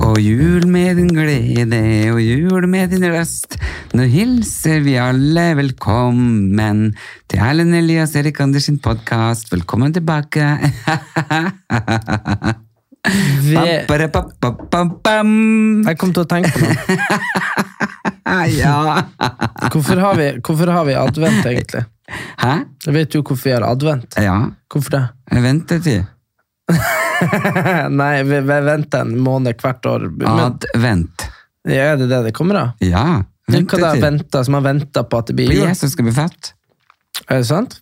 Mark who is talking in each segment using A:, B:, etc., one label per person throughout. A: Og jul med din glede, og jul med din røst. Nå hilser vi alle velkommen til Erlend Elias Erik Anders sin podkast. Velkommen tilbake. Ba-ba-da-ba-ba-bam.
B: Jeg kom til å tenke på noe.
A: Ah, Ja.
B: Hvorfor har vi, hvorfor har vi advent, egentlig?
A: Hæ?
B: Jeg vet jo hvorfor vi har advent.
A: Ja,
B: Hvorfor det?
A: ventetid.
B: Nei, vi, vi venter en måned hvert år. Men
A: Advent.
B: er det det det kommer av?
A: Ja,
B: Hva da
A: ventetid.
B: venter, som har venta på at det blir
A: Men
B: jul?
A: Jesus skal bli født.
B: Er det sant?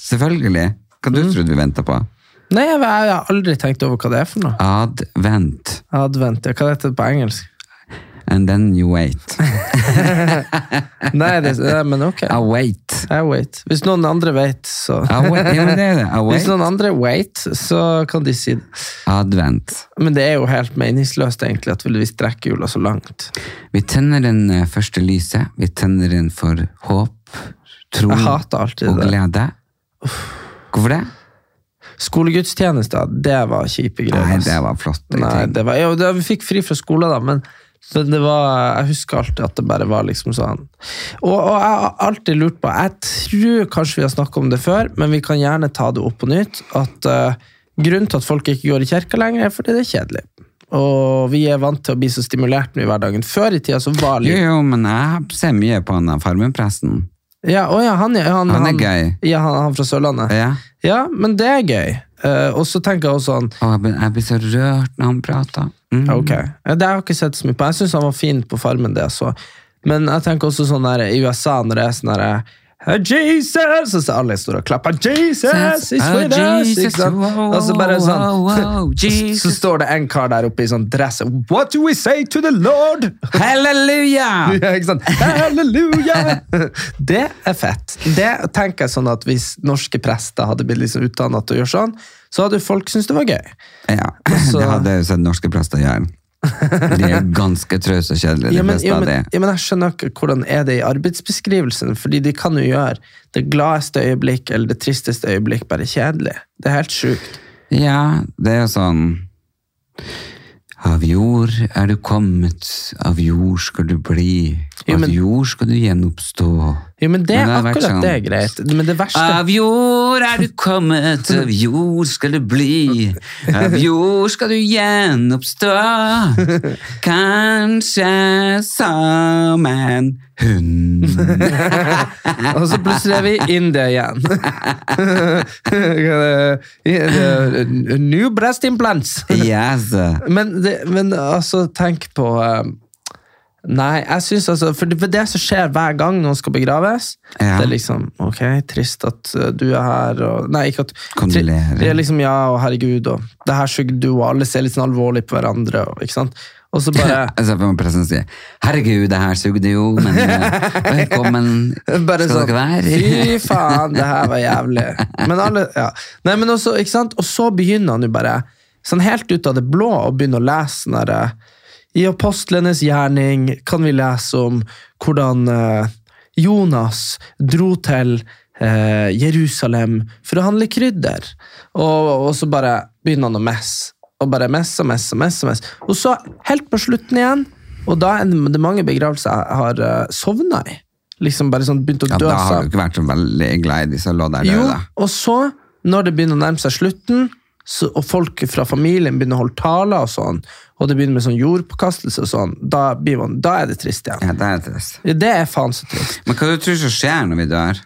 A: Selvfølgelig. Hva
B: Mm.
A: du trodde vi venta på?
B: Nei, jeg, jeg har aldri tenkt over hva det er for noe.
A: Advent.
B: Advent, ja, hva heter det på engelsk?
A: And then you wait.
B: Nei, det, nei men ok.
A: I wait.
B: I wait. Hvis noen andre vet, så
A: I wait. Ja, men det er det. I
B: Hvis
A: wait.
B: noen andre wait, så kan de si det.
A: Advent.
B: Men det er jo helt meningsløst, egentlig, at vi strekker jula så langt.
A: Vi tenner den eh, første lyset. Vi tenner den for håp, tro
B: Jeg hater alltid
A: og
B: det.
A: glede. Hvorfor det?
B: Skolegudstjenester, det var kjipe greier.
A: Nei,
B: altså.
A: det var flott. jeg
B: Nei,
A: tenkte.
B: det var, jo, det, vi fikk fri fra skolen, da, men, men det var, jeg husker alltid at det bare var liksom sånn. Og, og jeg har alltid lurt på Jeg tror kanskje vi har snakket om det før, men vi kan gjerne ta det opp på nytt. At eh, Grunnen til at folk ikke går i kirka lenger, er fordi det er kjedelig. Og vi er vant til å bli så stimulert nå i hverdagen. Før i tida så var
A: Jo,
B: litt
A: jo, men jeg ser mye på han eh, der farmerpresten.
B: ja, å ja, han, ja, han,
A: Han er gøy.
B: Ja, han, han fra Sørlandet.
A: Ja.
B: Ja, men det er gøy. Eh, og så tenker jeg også sånn
A: Og jeg blir, jeg blir så rørt når han prater. Mm.
B: Ja, Ok, Ja, Det har jeg ikke sett så mye på. Jeg syns han var fin på Farmen. det jeg så. Men jeg tenker også sånn der, i USA, når det er sånn derre Jesus! Så ser alle står og klapper. Jesus! He's
A: Oh,
B: with us!
A: Jesus,
B: Ikke sant?
A: wow,
B: Og så bare sånn
A: wow, wow, Jesus.
B: Så står det en kar der oppe i sånn dress. What do we say to the Lord?
A: Halleluja!
B: Ja, ikke sant? Halleluja! Det er fett. Det tenker jeg sånn at Hvis norske prester hadde blitt liksom utdanna til å gjøre sånn, så hadde folk syntes det var gøy.
A: Ja,
B: så-
A: det hadde jeg jo sett norske prester gjøre. De er ganske trause og kjedelige, de
B: Ja men,
A: fleste
B: ja,
A: av de.
B: men, ja, men jeg skjønner ikke hvordan er det i arbeidsbeskrivelsen, fordi de kan jo gjøre det gladeste øyeblikk eller det tristeste øyeblikk bare kjedelig. Det er helt sjukt.
A: Ja, det er jo sånn Av jord er du kommet, av jord skal du bli,
B: Jo, men-
A: av jord skal du gjenoppstå.
B: Jo, men det er
A: Men det hadde vært
B: akkurat
A: sånn-
B: det er greit. Men det verste
A: Av jord er du kommet, av jord skal du bli, av jord skal du gjenoppstå. Kanskje som en hund.
B: Og så plutselig er vi i India igjen. Hva er det? New breast implants.
A: Yes.
B: Men, det, men altså, tenk på eh, Nei, jeg synes altså For det, for det som skjer hver gang noen skal begraves,
A: Ja.
B: det er liksom Ok, trist at eh, du er her, og Nei, ikke at tri-
A: Kondolerer.
B: Det er liksom ja, og herregud, og det her suger du, og alle ser litt sånn alvorlig på hverandre, og ikke sant? Og så bare
A: Altså, for pressen sier, herregud, det her sugde jo, men eh, velkommen
B: Bare
A: skal
B: sånn,
A: dere være.
B: Fy faen, det her var jævlig. Men alle, ja. Nei, men også, ikke sant? Og så begynner han jo bare, sånn helt ut av det blå, å begynne å lese sånn derre, I apostlenes gjerning kan vi lese om hvordan eh, Jonas dro til eh, Jerusalem for å handle krydder. Og, og så bare begynner han å messe. Og bare messe og messe og messe. Og messe. Og så helt på slutten igjen, og da er det mange begravelser jeg har uh, sovna i. Liksom bare sånn begynt å
A: Ja,
B: dø
A: da har
B: seg.
A: du ikke vært så veldig glad i de som lå der
B: Jo,
A: døde.
B: og så, når det begynner å nærme seg slutten, så, og folk fra familien begynner å holde taler og sånn, og det begynner med sånn jordpåkastelse og sånn, da, blir man, da er det trist igjen.
A: Ja, det er trist.
B: Det er faen så trist.
A: Men hva du tror som skjer når vi dør?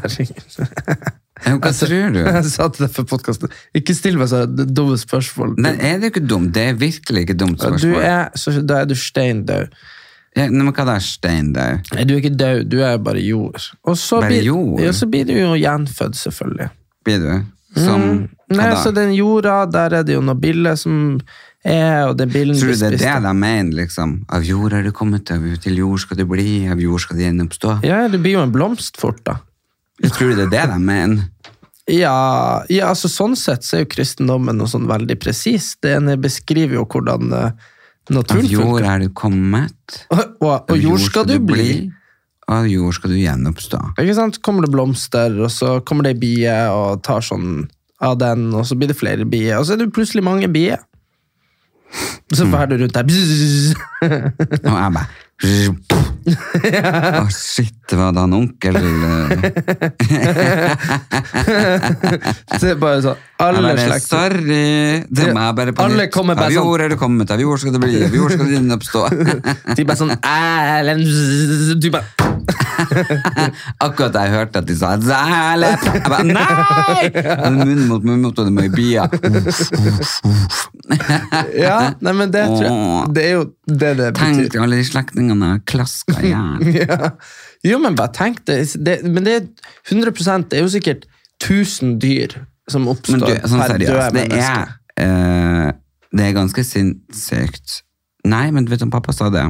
B: Herregud.
A: Ja, Hva
B: Altså-
A: tror du?
B: Jeg sa til deg før podcasten, Ikke still meg så dumme spørsmål.
A: Nei, er det ikke dumt? Det er virkelig ikke dumt
B: Du
A: spørsmål.
B: er, så, da er du steindau.
A: Ja, men hva da, Steindau?
B: Nei, Du er ikke død, du er bare jord. Og så,
A: Bare
B: blir,
A: jord?
B: Ja, så blir du jo gjenfødt, selvfølgelig.
A: Blir du? Som,
B: Mm, Nei,
A: hva
B: altså,
A: da?
B: så den jorda, der er det jo noen biller som er, og den billen
A: Tror du det er det
B: spist av-
A: de mener, liksom? Av jord er du kommet, av til jord skal du bli, av jord skal du gjenoppstå.
B: Ja, ja, du blir jo en blomst fort, da.
A: Tror du det er det de mener?
B: Ja, ja, altså sånn sett så er jo kristendommen noe sånn veldig presis. Den beskriver jo hvordan eh,
A: Av
B: naturen
A: jord
B: funker.
A: er du kommet,
B: Og, og,
A: av
B: og jord skal du bli.
A: Av jord skal du gjenoppstå.
B: Ikke sant? Kommer det blomster, og så kommer det ei bie og tar sånn av den, og så blir det flere bier, og så er det plutselig mange bier. Og så fer du rundt der bzzz.
A: Og jeg bare Å, shit, det var da en onkel eh,
B: Det er bare sånn
A: Jeg
B: Alle
A: bare,
B: slekter.
A: sorry! Det må jeg bare på
B: Alle
A: nytt.
B: kommer bare
A: Av
B: sånn-
A: jord er du kommet, av jord skal du bli, av jord skal du gjenoppstå.
B: De bare sånn Erlend bzzz. Du bare
A: Akkurat da jeg hørte at de sa Zæle! Jeg bare nei! Og munn mot munn mot, og det må i bia.
B: Ja, nei, men det tror jeg Det er jo det det betyr.
A: Tenk, alle de slektningene klaska i hjel.
B: Ja. Jo, men bare tenk det. det men det er 100 Det er jo sikkert 1000 dyr som oppstår
A: Men du, sånn
B: per døde
A: seriøst, det
B: menneske.
A: er, eh, det er ganske sinnssykt. Nei, men vet du, pappa sa det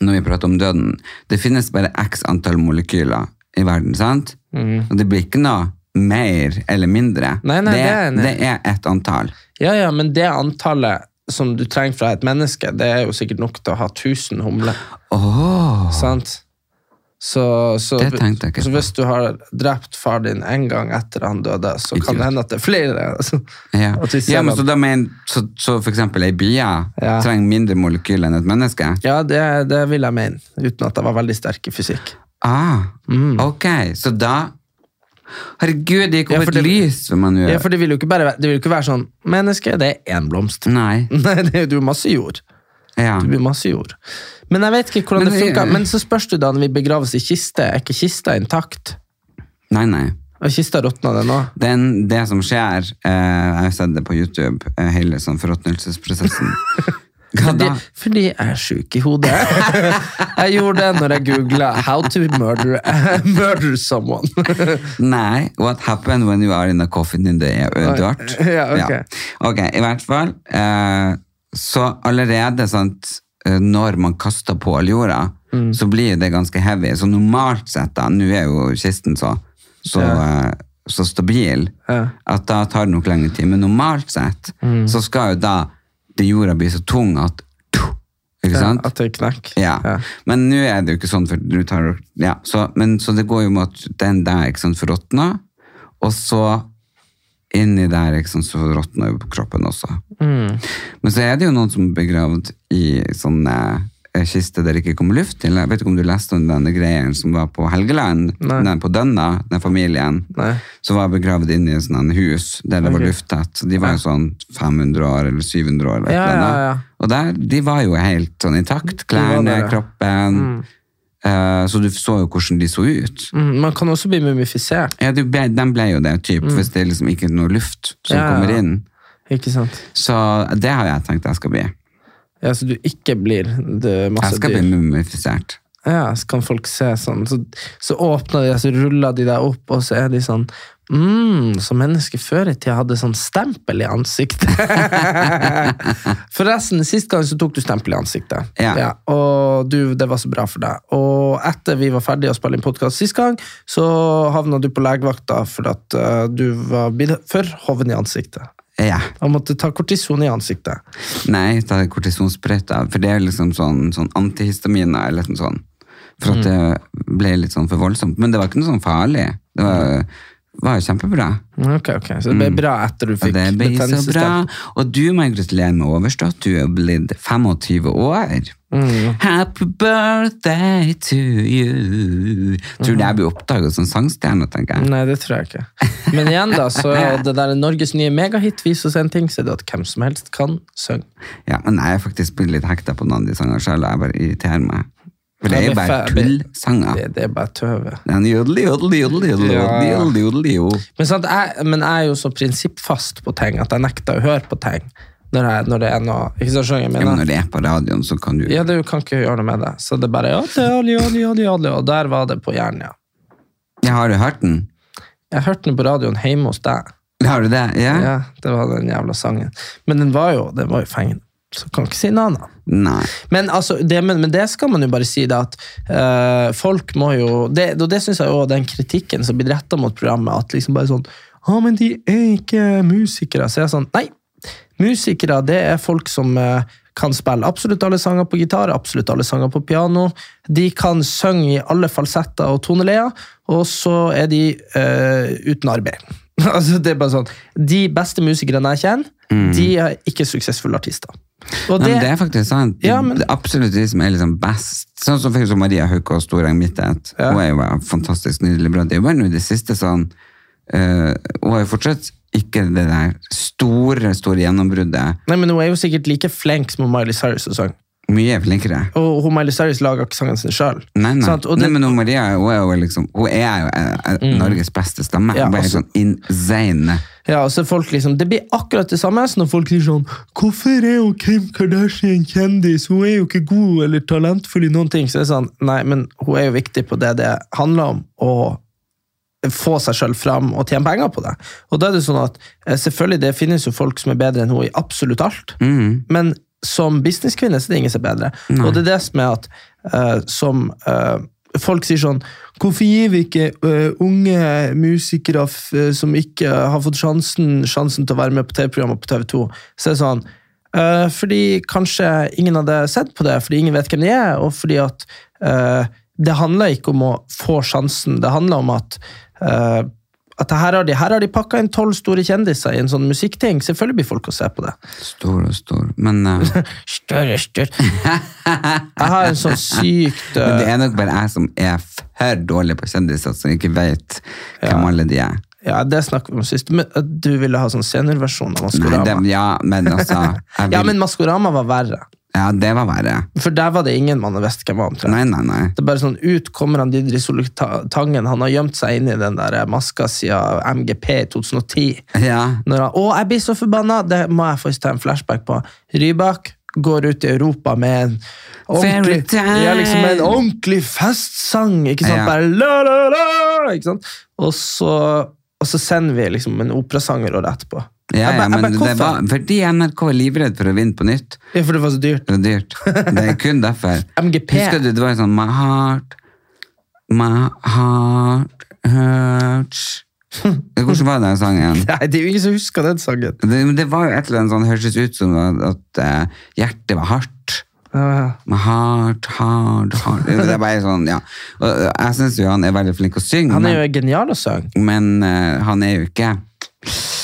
A: når vi prater om døden. Det finnes bare x antall molekyler i verden, sant? Og det blir ikke noe mer eller mindre.
B: Mm. Nei, nei,
A: det,
B: det er jeg enig i.
A: det er et antall.
B: Ja, ja, men det antallet som du trenger fra et menneske, det er jo sikkert nok til å ha 1000 humler.
A: Åh,
B: Sant? Så, så,
A: Det tenkte jeg ikke
B: så
A: på.
B: hvis du har drept far din en gang etter han døde, så kan det hende at det er flere. Altså.
A: ja.
B: At vi ser
A: ja, men
B: dem.
A: så da mener, så, så for eksempel ei bia
B: Ja.
A: trenger mindre molekyler enn et menneske?
B: Ja, det, det vil jeg mene, uten at jeg var veldig sterk i fysikk.
A: Ah, ok, så da... Herregud, det gikk
B: Mm. Ja,
A: opp
B: for
A: et
B: det-
A: lys for man
B: Ja,
A: gjør.
B: for det vil jo ikke, bare, være- det vil jo ikke være sånn Menneske, det er én blomst.
A: Nei,
B: Nei, det er jo- du har masse jord.
A: ja.
B: Det blir masse jord. Men jeg vet ikke hvordan
A: Men
B: det
A: det-
B: funker. Men så spørs det da når vi begraves i kiste. Er ikke kista intakt?
A: Nei, nei.
B: Og kista råtna det nå?
A: Den, det som skjer, eh, jeg har sett det på YouTube, eh, hele sånn forråtnelsesprosessen. Hva
B: Fordi,
A: da?
B: fordi jeg er sjuk i hodet. Jeg gjorde det når jeg googla 'How to murder, murder someone'.
A: Nei, what happened when you are in a coffin in the uh, dirt?
B: ja, ok.
A: Ok, i hvert fall. Eh, så allerede, sant, eh, når man kaster på all jorda,
B: Mm.
A: så blir det ganske heavy. Så normalt sett da, nå er jo kisten så, så, eh, så stabil,
B: Ja. Mm.
A: at da tar det nok lengre tid. Men normalt sett, så skal jo da, det jorda blir så tung at, ikke sant?
B: At det knekk.
A: Ja. Men nå er det jo ikke sånn, for du tar ja, så, men, så det går jo med at den der ikke sant, forråtna, og så inni der ikke sant, så råtner jo kroppen også.
B: Mm.
A: Men så er det jo noen som er begravd i sånne eh, kister der det ikke kommer luft til. Jeg vet ikke om du leste om denne greien som var på Helgeland, den på Dønna, den familien,
B: Nei.
A: som var begravd inni en sånn hus der det var lufttett. De var jo sånn 500 år eller 700 år. eller
B: Ja,
A: et eller annet.
B: ja, ja.
A: Og der, de var jo helt sånn intakt.
B: var
A: Klærne,
B: det, ja.
A: kroppen. Eh, så du så jo hvordan de så ut.
B: Mm, Man kan også bli mumifisert.
A: Ja, de ble, de ble jo det, typ, hvis det liksom ikke er noe luft som
B: Mm. Ja, ja.
A: kommer inn.
B: Ikke sant?
A: Så det har jeg tenkt jeg skal bli.
B: Ja, Så du ikke blir Altså, det er
A: Jeg
B: masse
A: skal bli
B: dyr.
A: mumifisert.
B: Ja, så kan folk se sånn. Så, så åpner de, så ruller de deg opp, og så er de sånn mm, Så mennesket før i tida hadde sånn stempel i ansiktet. Forresten, sist gang så tok du stempel i ansiktet.
A: Ja.
B: og du, det var så bra for deg. Og etter vi var ferdige å spille inn podkast sist gang, så havna du på legevakta for at eh, du var blitt for hoven i ansiktet.
A: Ja.
B: Og måtte ta kortison i ansiktet.
A: Nei, ta kortisonsprøyta. For det er liksom sånn, sånn antihistaminer eller noe sånt. For
B: Mm.
A: at det ble litt sånn for voldsomt. Men det var ikke noe sånn farlig. Det
B: Mm.
A: var, var jo kjempebra.
B: Ok, ok, Så det ble bra etter du
A: Og Mm.
B: fikk
A: det ble så
B: betennelsesstempel.
A: bra. Og du må jeg gratulere med overstått. Du er blitt 25 år.
B: Mm.
A: Happy birthday to you. Tror
B: Mm.
A: du jeg blir oppdaget som sangstjerne, tenker jeg.
B: Nei, det tror jeg ikke. Men igjen, da, så det der Norges nye megahit viser oss en ting, så er det at hvem som helst kan synge.
A: Ja, men jeg er faktisk blitt litt hekta på noen av de sangene sjøl. Jeg bare irriterer meg. For det er jo bare tullsanger.
B: Det, det er bare tøve.
A: Det er en jodel, jodel, jodel, jodel,
B: Ja.
A: jodel, jodel, jo.
B: Men, sant, jeg, men jeg er jo så prinsippfast på ting at jeg nekter å høre på ting når, jeg, når det er noe Ikke sant, skjønner du
A: Ja,
B: hva jeg
A: men
B: mener?
A: når det er på radioen, så kan du
B: Ja, du kan ikke gjøre noe med det. Så det er bare ja, det er olje, olje, olje, olje, Og der var det på hjernen, ja.
A: Ja, har du hørt den?
B: Jeg hørte den på radioen hjemme hos deg.
A: Har du det? Ja?
B: Ja, Det var den jævla sangen. Men den var jo, den var jo fengende. Så kan ikke si noe annet.
A: Nei.
B: Men, altså, det, men, men det skal man jo bare si, da, at eh, folk må jo det, Og det syns jeg òg, den kritikken som blir retta mot programmet, at liksom bare sånn Ja, men de er ikke musikere. Så jeg er sånn Nei! Musikere, det er folk som eh, kan spille absolutt alle sanger på gitar, absolutt alle sanger på piano. De kan synge i alle falsetter og toneleier, og så er de eh, uten arbeid. altså, det er bare sånn. De beste musikerne jeg kjenner, de er ikke suksessfulle artister. Og
A: Mm. Nei, men det er faktisk sant.
B: Ja, men-
A: Det er absolutt de som er liksom best. Sånn som for eksempel Maria Haukås Storeng Midthet.
B: Ja.
A: Hun er jo bare en fantastisk nydelig bra. Det er jo bare nå i det siste sånn eh, Hun har jo fortsatt ikke det der store, store gjennombruddet.
B: Nei, men Hun er jo sikkert like flink som hun Miley Cyrus og sang.
A: Mye flinkere.
B: Og hun Miley Cyrus lager ikke sangen sin sjøl.
A: Nei, nei.
B: Sant? Og det- Mm.
A: nei men hun Maria hun er jo liksom Hun er jo eh, eh, Norges beste stemme.
B: Ja,
A: hun er
B: altså-
A: helt sånn insane.
B: Ja, og så er folk liksom, Det blir akkurat det samme som når folk sier sånn 'Hvorfor er jo Kim Kardashian kjendis? Hun er jo ikke god eller talentfull i noen ting.' Så det er sånn, nei, men hun er jo viktig på det det handler om, å få seg sjøl fram og tjene penger på det. Og da er det sånn at eh, selvfølgelig, det finnes jo folk som er bedre enn hun i absolutt alt, men som businesskvinne så er det ingen som er bedre. Og det er det som er at eh, som eh, Folk sier sånn Hvorfor gir vi ikke eh, unge musikere f eh, som ikke har fått sjansen, sjansen til å være med på TV-programmer på TV2? Så er det sånn eh, Fordi kanskje ingen hadde sett på det, fordi ingen vet hvem de er, og fordi at eh, det handler ikke om å få sjansen, det handler om at eh, at her har de, her har de pakka inn tolv store kjendiser i en sånn musikkting. Selvfølgelig blir folk å se på det.
A: Stor og stor. Men, eh,
B: Større, større. Jeg har en sånn sykt
A: men det
B: eh,
A: er nok bare jeg som er for dårlig på kjendiser, som ikke vet hvem alle de er.
B: eh, Ja, det snakket vi om sist. Men at du ville ha sånn seniorversjon av
A: Nei,
B: Maskorama.
A: det, ja, men altså jeg vil,
B: Ja, men Maskorama var verre.
A: Ja, det var verre.
B: For der var det ingen man visste hvem var. omtrent.
A: Nei, nei, nei.
B: Det er bare sånn, Ut kommer han Didri Soltangen. Han har gjemt seg inni den der maska siden MGP i 2010.
A: Ja.
B: Når han, å, jeg blir så forbanna! Det må jeg faktisk ta en flashback på. Rybak går ut i Europa med en ordentlig,
A: Fairytale.
B: ja, liksom med en ordentlig festsang. Ikke sant?
A: Ja.
B: Bare la, la, la! Ikke sant? Og, så, og så sender vi liksom en operasanger året etterpå.
A: Ja,
B: Jeg
A: ja,
B: bare- jeg
A: men
B: bare,
A: det var, fordi NRK er livredd for å vinne på nytt.
B: hvorfor? Ja, for det var så dyrt.
A: Det er dyrt. Det er kun derfor.
B: MGP.
A: Husker du, det var sånn My heart, my heart hurts Hvordan var den sangen?
B: Nei, det er jo ingen som husker den sangen.
A: Det, men det var jo et eller annet sånn, hørtes ut som at, at eh, hjertet var hardt.
B: Ja,
A: My heart, hard, hard. Det er bare sånn, ja. Og eh, jeg synes jo han er veldig flink å synge,
B: Han
A: men,
B: er jo genial å synge.
A: men eh, han er jo ikke...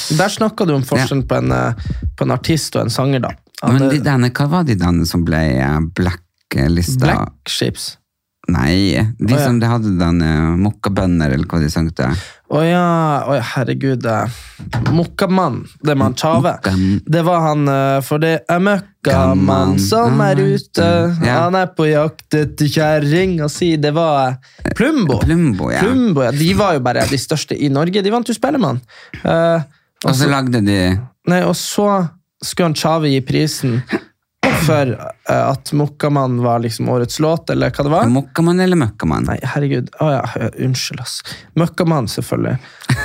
B: Der snakka du om forskjellen på, en, eh, på en artist og en sanger, da. eh, At
A: Men de
B: det-
A: denne, hva var de denne som ble eh, blacklista?
B: Black Ships.
A: Nei, de
B: Å, ja.
A: som de hadde denne mokkabønner, eller hva de sang til.
B: Å ja, å ja, herregud. eh, Mokkamann, det med han Tjave.
A: Mokkam-
B: Det var han, eh, for det er møkkamann som er ute.
A: Ah, Ja.
B: Han er på jakt etter kjerringa si. Det var eh, Plumbo.
A: Plumbo, ja.
B: Plumbo, ja. De var jo bare de største i Norge. De vant jo Spellemann. Eh,
A: Og så lagde de
B: nei, og så skulle han Tjave gi prisen for eh, at Mokkamann var liksom årets låt, eller hva det var.
A: Mokkamann eller Møkkamann?
B: Nei, herregud. Å ja, hø- unnskyld, ass. Møkkamann, selvfølgelig.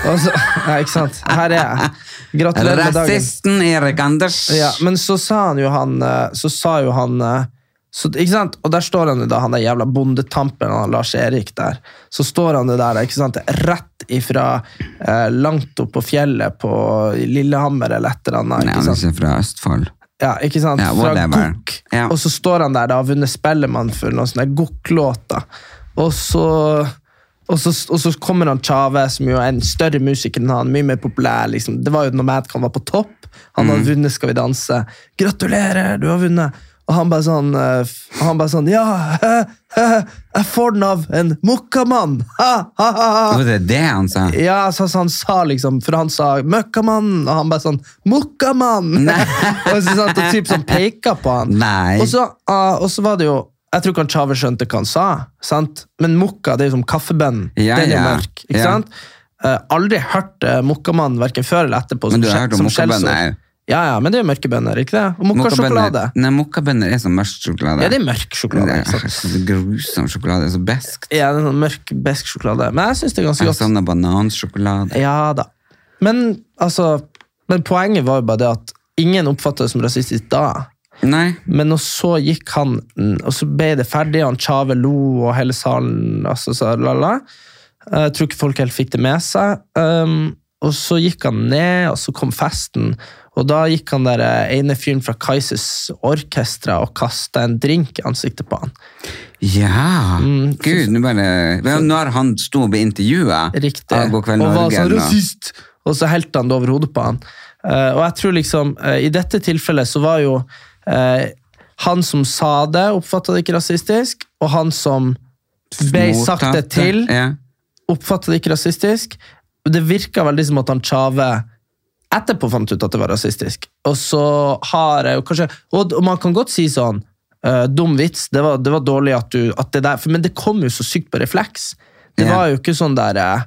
B: Altså, ja, ikke sant? Her er jeg. Gratulerer med dagen.
A: Rasisten Erik Anders!
B: Ja, men så sa han jo han eh, Så sa jo han eh, så, Ikke sant? Og der står han jo da, han der jævla bondetampen, han Lars Erik der. Så står han jo der, ikke sant? Rett ifra eh, langt opp på fjellet på Lillehammer eller et eller annet.
A: Nei,
B: Ikke
A: han er
B: sant?
A: ikke fra Østfold.
B: Ja, ikke sant?
A: Ja,
B: Fra
A: whatever.
B: Gokk.
A: Ja.
B: Og så står han der da, og har vunnet Spellemann for noen sånne Gokk-låter. Og så... Og så, og så kommer han Tjave, som jo er en større musiker enn han, mye mer populær. liksom. Det var jo når Madcon var på topp. Han
A: Mm.
B: hadde vunnet Skal vi danse. 'Gratulerer, du har vunnet!' Og han bare sånn, eh, f- og han bare sånn 'Ja, jeg får den av en mokkamann!' Ha, ha, ha, ha.
A: Var det det han sa?
B: Ah. Ja, altså, så, så han sa liksom For han sa 'møkkamann', og han bare sånn 'mokkamann'! og så sant, og typ sånn peka på han.
A: Nei.
B: Og så, ah, og så var det jo Jeg tror ikke han Chave skjønte hva han sa, sant? men mokka det er jo som kaffebønnen.
A: Ja,
B: Den er
A: ja.
B: mørk. ikke
A: Ja.
B: sant? Eh, aldri hørt uh, mokkamannen verken før eller etterpå.
A: Men
B: som
A: du har
B: skje-
A: hørt om
B: som skjellsord.
A: mokkabønner? jo.
B: Ja, ja, men det er jo mørke bønner, ikke det? Og mokkasjokolade.
A: Mokkabønner- Nei, mokkabønner er som mørk sjokolade.
B: Ja, det er mørk sjokolade.
A: Det
B: ikke
A: er
B: sant?
A: så grusom sjokolade. Så beskt.
B: Ja, det er sånn mørk besk sjokolade. Men jeg syns det er ganske
A: Jeg
B: godt.
A: savner banansjokolade.
B: Ja da. Men altså Men poenget var jo bare det at ingen oppfattet det som rasistisk da.
A: Nei.
B: Men og så gikk han, og så ble det ferdig, og han Tjave lo, og hele salen altså, så, la, la. Eh, Jeg tror ikke folk helt fikk det med seg. Um, og så gikk han ned, og så kom festen. Og da gikk han der eh, ene fyren fra Kaizers orkestra og kasta en drink i ansiktet på han.
A: Ja!
B: Mm,
A: Gud, nå bare Vel, Nå har han stått og blitt intervjua
B: Riktig.
A: av God kveld
B: og var
A: Norge.
B: sånn
A: nå.
B: rasist! Og så helte han det over hodet på han. Eh, og jeg tror liksom, eh, i dette tilfellet så var jo eh, han som sa det, oppfatta det ikke rasistisk, og han som ble sagt det
A: Mottatt.
B: til,
A: Ja.
B: oppfatta det ikke rasistisk. Det virka veldig som at han Tjave etterpå fant ut at det var rasistisk. Og så har jeg jo kanskje Og, og man kan godt si sånn eh, Dum vits, det var, det var dårlig at du at det der, for, Men det kom jo så sykt på refleks. Det
A: Ja.
B: var jo ikke sånn der eh,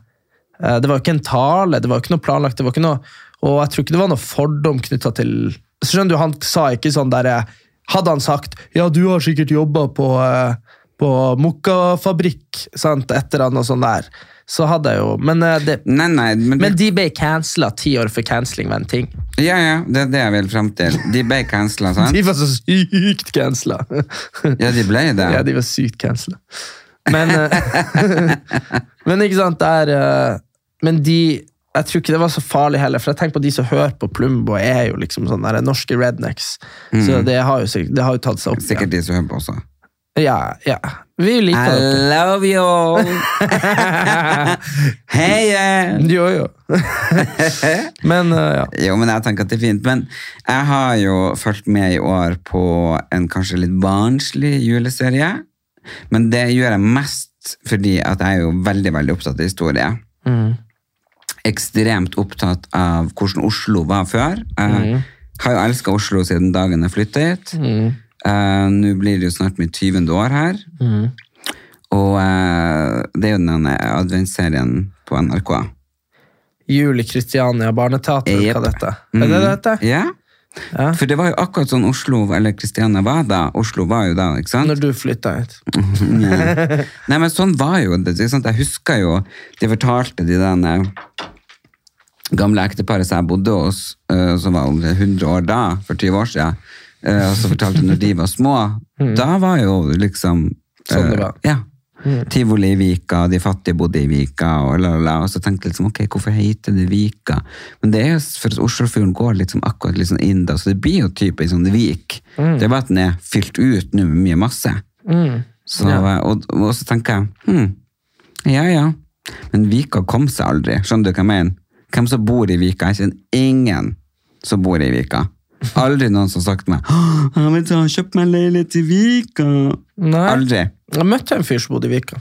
B: eh, Det var jo ikke en tale, det var jo ikke noe planlagt. det var ikke noe, Og jeg tror ikke det var noe fordom knytta til Så Skjønner du, han sa ikke sånn der eh, Hadde han sagt 'ja, du har sikkert jobba på eh, på Mokkafabrikk', sant, etter han og sånn der, så hadde jeg jo Men eh, det
A: Nei, nei, men,
B: men de ble cancela ti år for canceling med en ting.
A: Ja, ja, det er det jeg vil fram til. De ble cancela, sant?
B: De var så sykt cancela!
A: Ja, de ble det.
B: ja, de var sykt cancela. Men, eh, men ikke sant, det er eh, Men de Jeg tror ikke det var så farlig heller, for jeg tenker på de som hører på Plumbo, er jo liksom sånne der, norske rednecks. Så det har, jo, sikk- det har jo tatt seg opp.
A: Mm. Sikkert de som hører på også.
B: igjen. Ja, ja. Vi liker det.
A: love you all! Heia!
B: Jo, jo. men eh, ja.
A: Jo, men jeg tenker at det er fint. Men jeg har jo fulgt med i år på en kanskje litt barnslig juleserie. Men det gjør jeg mest fordi at jeg er jo veldig, veldig opptatt av historie. Ekstremt opptatt av hvordan Oslo var før. Jeg har jo elska Oslo siden dagen jeg flytta hit. Eh, Nå blir det jo snart mitt 20. år her. Og eh, det er jo den derne adventsserien på NRK.
B: Jul i Kristiania Barneteater,
A: Jepp.
B: hva dette
A: Mm.
B: er? det det heter?
A: Ja.
B: Ja.
A: For det var jo akkurat sånn Oslo eller Kristiania var da. Oslo var jo da, ikke sant?
B: Når du flytta hit.
A: Nei, men sånn var jo det. Ikke sant? Jeg husker jo, de fortalte de den gamle ekteparet som jeg bodde hos, eh, som var over 100 år da, for 20 år siden, eh, og så fortalte når de var små, da var jo liksom... eh,
B: Mm. Sånn det var. Mm.
A: Ja. Tivoli i Vika, de fattige bodde i Vika, og, la, la, la, og så tenkte jeg liksom, ok, hvorfor heter det Vika? Men det er jo s- for at Oslofjorden går liksom akkurat litt sånn inn da, så det blir jo type en sånn vik.
B: Mm.
A: Det er bare at den er fylt ut nå med mye masse. Så, eh, og, og så tenker jeg, hm, ja, ja. Men Vika kom seg aldri, skjønner du hva jeg mener? Hvem som bor i Vika? Jeg kjenner ingen som bor i Vika. Aldri noen som har sagt til meg, «Åh, jeg vet du, kjøp meg en leilighet i Vika.
B: Nei.
A: Aldri.
B: Jeg møtte en fyr som bodde i Vika.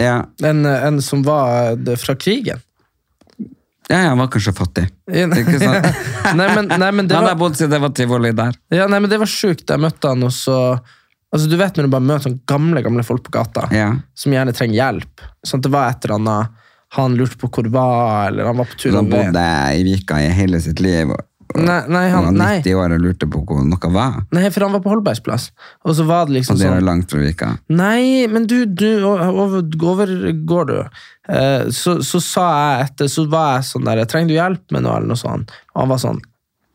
A: Ja,
B: En, en som var eh, det- fra krigen.
A: Ja, jeg var kanskje fattig. Ikke sant?
B: nei, men, nei, men det
A: Han har
B: var,
A: bodd siden det var tivoli der.
B: ja, nei, men det var sjukt. Jeg møtte han, og så altså, Du vet når du bare møter sånne gamle gamle folk på gata
A: Ja.
B: som gjerne trenger hjelp. Sånn, det var et eller annet Han lurte på hvor det var, eller han var på tur
A: Så han
B: over.
A: bodde i Vika i hele sitt liv. og- og
B: Nei, nei,
A: han var
B: han, nei.
A: 90 år og lurte på hvor noe var.
B: nei, for han var på Holbergsplass. Og så var det liksom
A: Og det er
B: sånn
A: langt fra Vika.
B: Nei, men du, du over, over går du. Eh, så, så sa jeg etter, så var jeg sånn der, trenger du hjelp med noe eller noe sånt? Og han var sånn,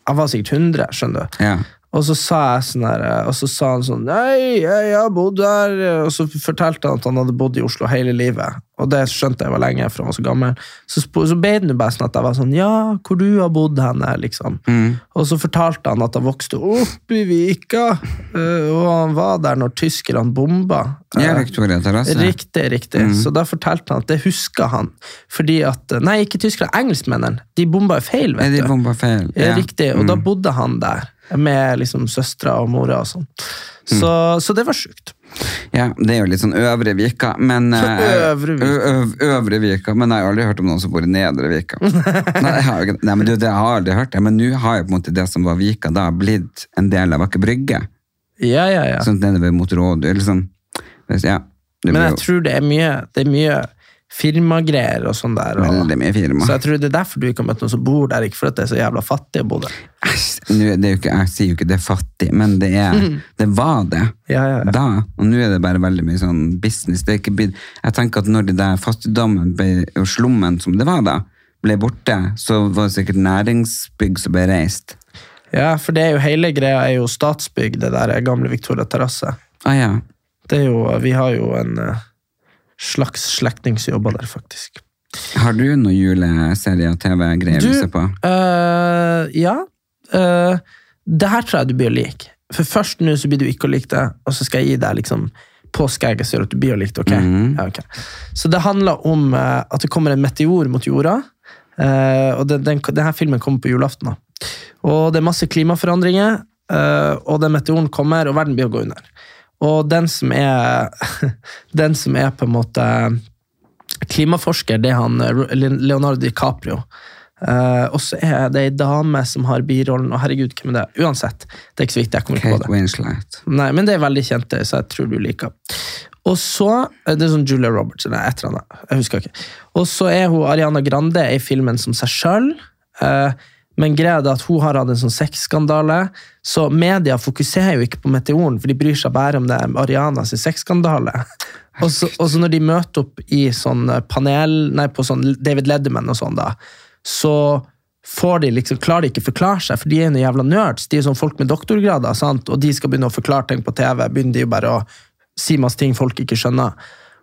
B: han var sikkert 100, skjønner du.
A: Ja.
B: Og så sa jeg sånn der, og så sa han sånn, nei, jeg har bodd der, og så fortalte han at han hadde bodd i Oslo hele livet, og det skjønte jeg var lenge, for han var så gammel. Så, spo- så ble det jo bare sånn at jeg var sånn, ja, hvor du har bodd henne, liksom.
A: Mm.
B: Og så fortalte han at han vokste opp i Vika, eh, og han var der når tyskerne bomba. eh,
A: Ja, Victoria Terrasse.
B: Riktig, riktig.
A: Mm.
B: Så da fortalte han at det husker han. Fordi at, Nei, ikke tyskere, engelskmennene. De bomba jo feil,
A: Er
B: vet
A: de
B: du.
A: bomba feil?
B: Ja, Eh, Riktig, og da bodde han der. Med liksom søstera og mora og sånn. Så, så det var sjukt.
A: Ja, det er jo litt sånn Øvre Vika, men eh,
B: Øvre Vika.
A: ø- øv- Øvre Vika, men jeg har aldri hørt om noen som bor i Nedre Vika. Nei, jeg har, jo ikke- nei men du, det har jeg aldri hørt det, men nå har jo på en måte det som var Vika da, blitt en del av Aker Brygge.
B: Ja, ja, ja.
A: Sånn nedover mot råd, eller sånn. Det- Ja, det
B: Men
A: blir
B: jeg
A: jo
B: tror det er mye, det er mye firmagreier og sånn der. Og,
A: veldig mye firma.
B: så jeg tror det er derfor du ikke har møtt noen som bor der, ikke for at det er så jævla fattig å bo der.
A: Æsj, nå er det jo ikke, jeg sier jo ikke det er fattig, men det, er, det var det
B: Ja, ja, ja.
A: da. Og nå er det bare veldig mye sånn business. Det er ikke, blitt- jeg tenker at når det der fattigdommen ble, og slummen som det var da, ble borte, så var det sikkert næringsbygg som ble reist.
B: Ja, for det er jo hele greia er jo Statsbygg, det der gamle Victoria terrasse.
A: Ah, ja.
B: Det er jo, vi har jo en eh, slags slektning som jobber der, faktisk.
A: Har du noen juleserie og TV-greier du
B: Du,
A: ser på?
B: eh, ja. eh, det her tror jeg du blir å like. For først nå så blir du ikke å like det, og så skal jeg gi deg liksom påskeegget som gjør at du blir å like det. ok?
A: Mhm.
B: Ja, ok. Så det handler om eh, at det kommer en meteor mot jorda, eh, og den, den, denne filmen kommer på julaften. da. Og det er masse klimaforandringer, eh, og den meteoren kommer, og verden blir å gå under. Og den som er, den som er på en måte klimaforsker, det er han eh, Leonardo DiCaprio. Eh, og så er det ei dame som har birollen, og herregud, hvem er det? Uansett, det er ikke så viktig. jeg kommer ikke på det.
A: Kate Winslet.
B: Nei, men det er veldig kjente, så jeg tror du liker. Og så, Det er sånn Julia Roberts eller et eller annet. jeg husker ikke. Og så er hun Ariana Grande i filmen som seg sjøl. Men greia er det at hun har hatt en sånn sexskandale, så media fokuserer jo ikke på meteoren, for de bryr seg bare om det er Ariana sin sexskandale. Og så, og så når de møter opp i sånn panel, nei, på sånn David Ledderman og sånn, da, så får de liksom, klarer de ikke forklare seg, for de er jo noen jævla nerds. De er sånn folk med doktorgrader, sant? og de skal begynne å forklare ting på TV. Begynner de jo bare å si masse ting folk ikke skjønner.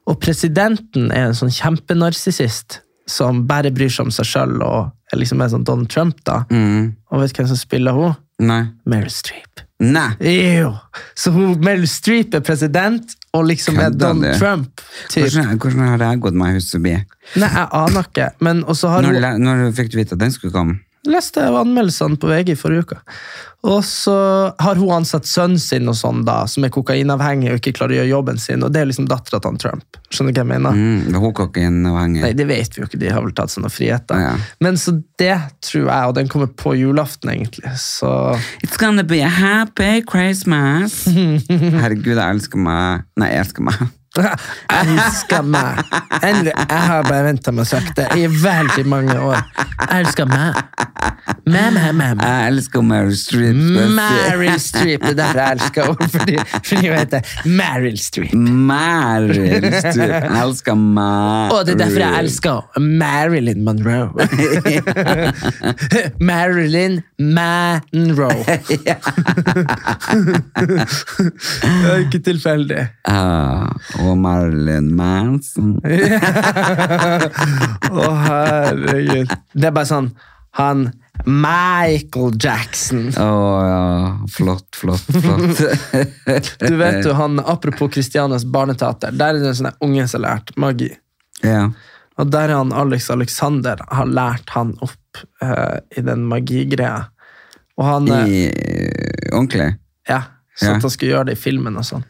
B: Og presidenten er en sånn kjempenarsissist som bare bryr seg om seg sjøl og er liksom er sånn Donald Trump, da.
A: Mm.
B: Og vet du hvem som spiller hun?
A: Nei.
B: Meryl Streep.
A: Nei.
B: Ew. Så hun, Meryl Streep er president, og liksom er
A: Kødder
B: Donald
A: du?
B: Trump. Typ.
A: Hvordan, hvordan har jeg gått meg hus forbi?
B: Nei, jeg aner ikke. Men også har
A: Når,
B: hun
A: le- når fikk du vite at den skulle komme?
B: leste jeg anmeldelsene på VG i forrige uke. Og så har hun ansatt sønnen sin, og sånn da, som er kokainavhengig og ikke klarer å gjøre jobben sin. Og det er liksom dattera til han Trump. Skjønner du hva jeg mener?
A: Mm, var hun kokainavhengig?
B: Nei, det vet vi jo ikke. De har vel tatt seg noen friheter.
A: Ja.
B: Men så det tror jeg, og den kommer på julaften, egentlig. Så
A: It's gonna be a happy Christmas. Herregud, jeg elsker meg. Nei, jeg elsker meg.
B: Elsker meg. Endelig. Jeg har bare venta med å sagt det i veldig mange år. Elsker meg. Mæ, mæ, mæ, mæ.
A: Jeg elsker Meryl Streep. spesielt.
B: Meryl Streep. Det er derfor jeg elsker henne, fordi, fordi hun heter Meryl Streep.
A: Meryl Streep. Jeg elsker meg.
B: Og det er derfor jeg elsker henne. Marilyn Monroe. Marilyn Monroe. det er ikke tilfeldig.
A: Ah, og Marilyn Manson.
B: Å, herregud. Det er bare sånn Han Michael Jackson.
A: Å ja, flott, flott, flott.
B: Du vet jo, han, Apropos Christianias barneteater, der er det en sånn der unge som har lært magi.
A: ja.
B: Og der er han Alex Alexander har lært han opp eh, i den magigreia. Og han eh,
A: I, ordentlig?
B: Ja, så
A: Ja.
B: at han skulle gjøre det i filmen og sånn.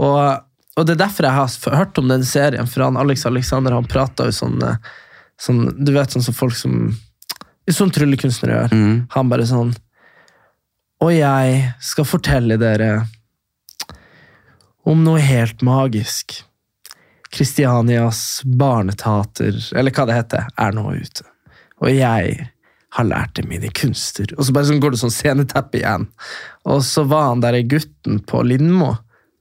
B: Og, og det er derfor jeg har f- hørt om den serien, for han Alex Alexander han pratet jo sånn, eh, sånn Du vet sånn som folk som Sånn tryllekunstnere gjør.
A: Mm.
B: Han bare sånn Og jeg skal fortelle dere om noe helt magisk. Kristianias barneteater, eller hva det heter, er nå ute. Og jeg har lært det mine kunster. Og så bare sånn går det sånn sceneteppe igjen. Og så var han der gutten på Lindmo,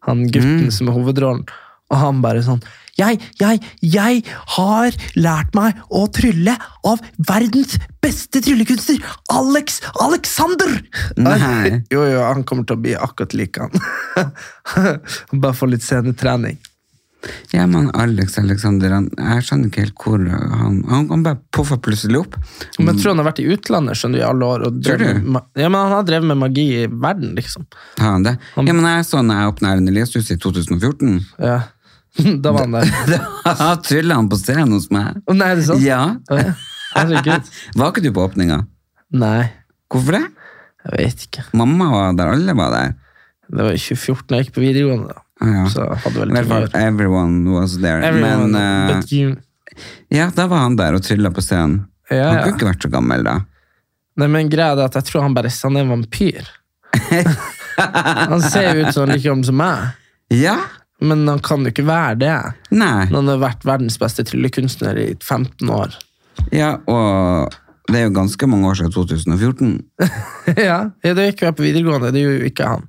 B: han gutten som er hovedrollen, og han bare sånn jeg, jeg, jeg har lært meg å trylle av verdens beste tryllekunstner, Alex Alexander!
A: Nei.
B: Jo, jo, han kommer til å bli akkurat lik han. Bare få litt scenetrening.
A: Ja, men Alex Alexander, han, jeg skjønner ikke helt hvor han Han, han bare poffa plutselig opp.
B: Men jeg tror han har vært i utlandet skjønner du, i alle år. Og
A: Mm. Tror
B: drevet
A: du?
B: med ma- ja, men Han har drevet med magi i verden, liksom.
A: Har han det? Ja, men jeg så når jeg åpna Erlend Elias-huset i 2014.
B: Ja. Da var han der.
A: Da trylla han på scenen hos meg.
B: Å, nei, er det sant?
A: Ja.
B: Å, ja. Herregud.
A: Var ikke du på åpninga?
B: Nei,
A: Hvorfor det?
B: jeg vet ikke.
A: Mamma var der, alle var der.
B: Det var i 2014 jeg gikk på videregående. da.
A: Ah, ja.
B: Så jeg
A: I
B: hadde vel
A: hvert
B: ikke
A: fall,
B: vært
A: everyone was there.
B: Everyone,
A: men eh,
B: but you...
A: ja, da var han der og trylla på scenen.
B: Ja,
A: Han
B: ja.
A: kunne ikke vært så gammel da.
B: Nei, men greia er det at jeg tror han bare han er en vampyr. Han ser jo ut som han er like gammel som meg,
A: Ja?
B: men han kan jo ikke være det.
A: Nei.
B: Når han har vært verdens beste tryllekunstner i 15 år.
A: Ja, og det er jo ganske mange år siden 2014.
B: ja, ja, det gikk jo jeg på videregående, det gjorde jo ikke han.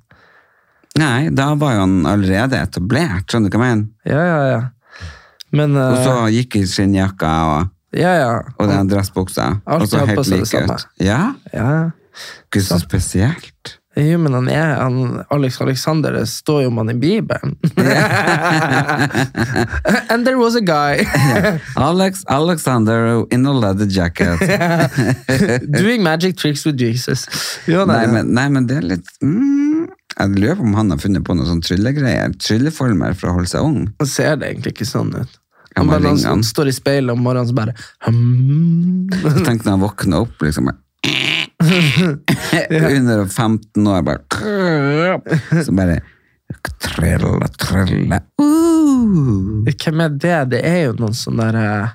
A: Nei, da var jo han allerede etablert, skjønner du hva jeg mener?
B: Ja, ja, ja. Men eh,
A: Og så gikk i skinnjakka og,
B: Ja, ja.
A: og den dressbuksa.
B: Alltid
A: Og så
B: hatt på
A: helt
B: seg det
A: lik
B: samme.
A: ut. Ja,
B: ja.
A: ikke så spesielt.
B: Jo, men han er han, Alex Alexander, det står jo om han i Bibelen. And there was a guy
A: Alex Alexander in a leather jacket.
B: doing magic tricks with Jesus. Jo,
A: Nei,
B: nei,
A: men, nei, men det er litt mm, Jeg lurer på om han har funnet på noen sånn tryllegreier. Trylleformer for å holde seg ung.
B: Han ser det egentlig ikke sånn ut.
A: Ja,
B: Han,
A: men
B: bare, han,
A: ring han.
B: står i speilet om morgenen og bare hmm.
A: Tenk når han våkner opp, liksom. bare- Under 15 år, bare Så bare Trille, trille. Uh.
B: Hvem er det? Det er jo noen sånn der eh,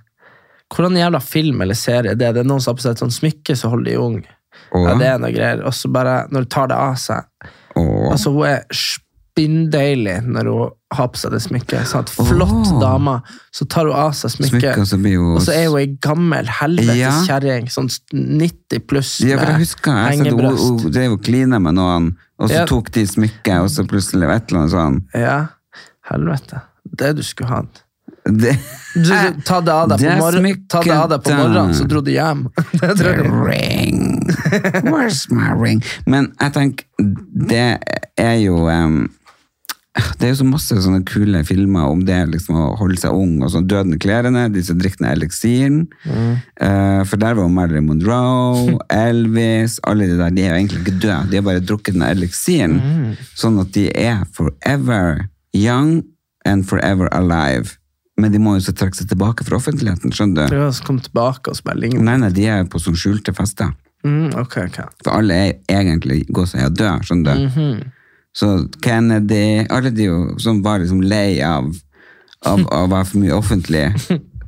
B: Hvordan jævla film eller serie er det? Det er noen som har på seg et sånt smykke, så holder de ung.
A: Åh.
B: Ja, det er noe greier. Og så bare, når du tar det av seg
A: Åh.
B: Altså, hun er spinndeilig når hun har på seg det smykket. Sånn at flott
A: Åh.
B: dame, så tar hun av seg smykket,
A: Smykket, og så blir hun-
B: og så er hun ei gammel helvetes
A: Ja.
B: kjerring, sånn 90 pluss,
A: Ja, for jeg husker jeg, så hun,
B: hengebrøst.
A: hun drev og klina med noen, og så
B: Ja.
A: tok de smykket, og så plutselig et eller annet sånn.
B: Ja, helvete. Det du skulle hatt.
A: Det,
B: Du, du, ta det av deg på,
A: Eh, Det
B: mor ta det av deg på
A: smykket,
B: morgenen, så
A: da.
B: dro du hjem. Det tror jeg.
A: ring. Where's my ring? Men jeg tenker, det er jo em, det er jo så masse sånne kule filmer om det liksom å holde seg ung, og sånn døden i klærne, de som drikker den eliksiren. Eh, for der var jo Marilyn Monroe, Elvis, alle de der, de er jo egentlig ikke døde, de har bare drukket den eliksiren. Sånn at de er forever young and forever alive. Men de må jo så trekke seg tilbake fra offentligheten, skjønner du?
B: Ja, så kom tilbake og så bare lignet.
A: Nei, nei, de er jo på sånn skjulte fester.
B: Mm, ok, ok.
A: For alle er egentlig gåseøyne og døde, skjønner du? Så Kennedy, alle de jo, som var liksom lei av, av å være for mye offentlig,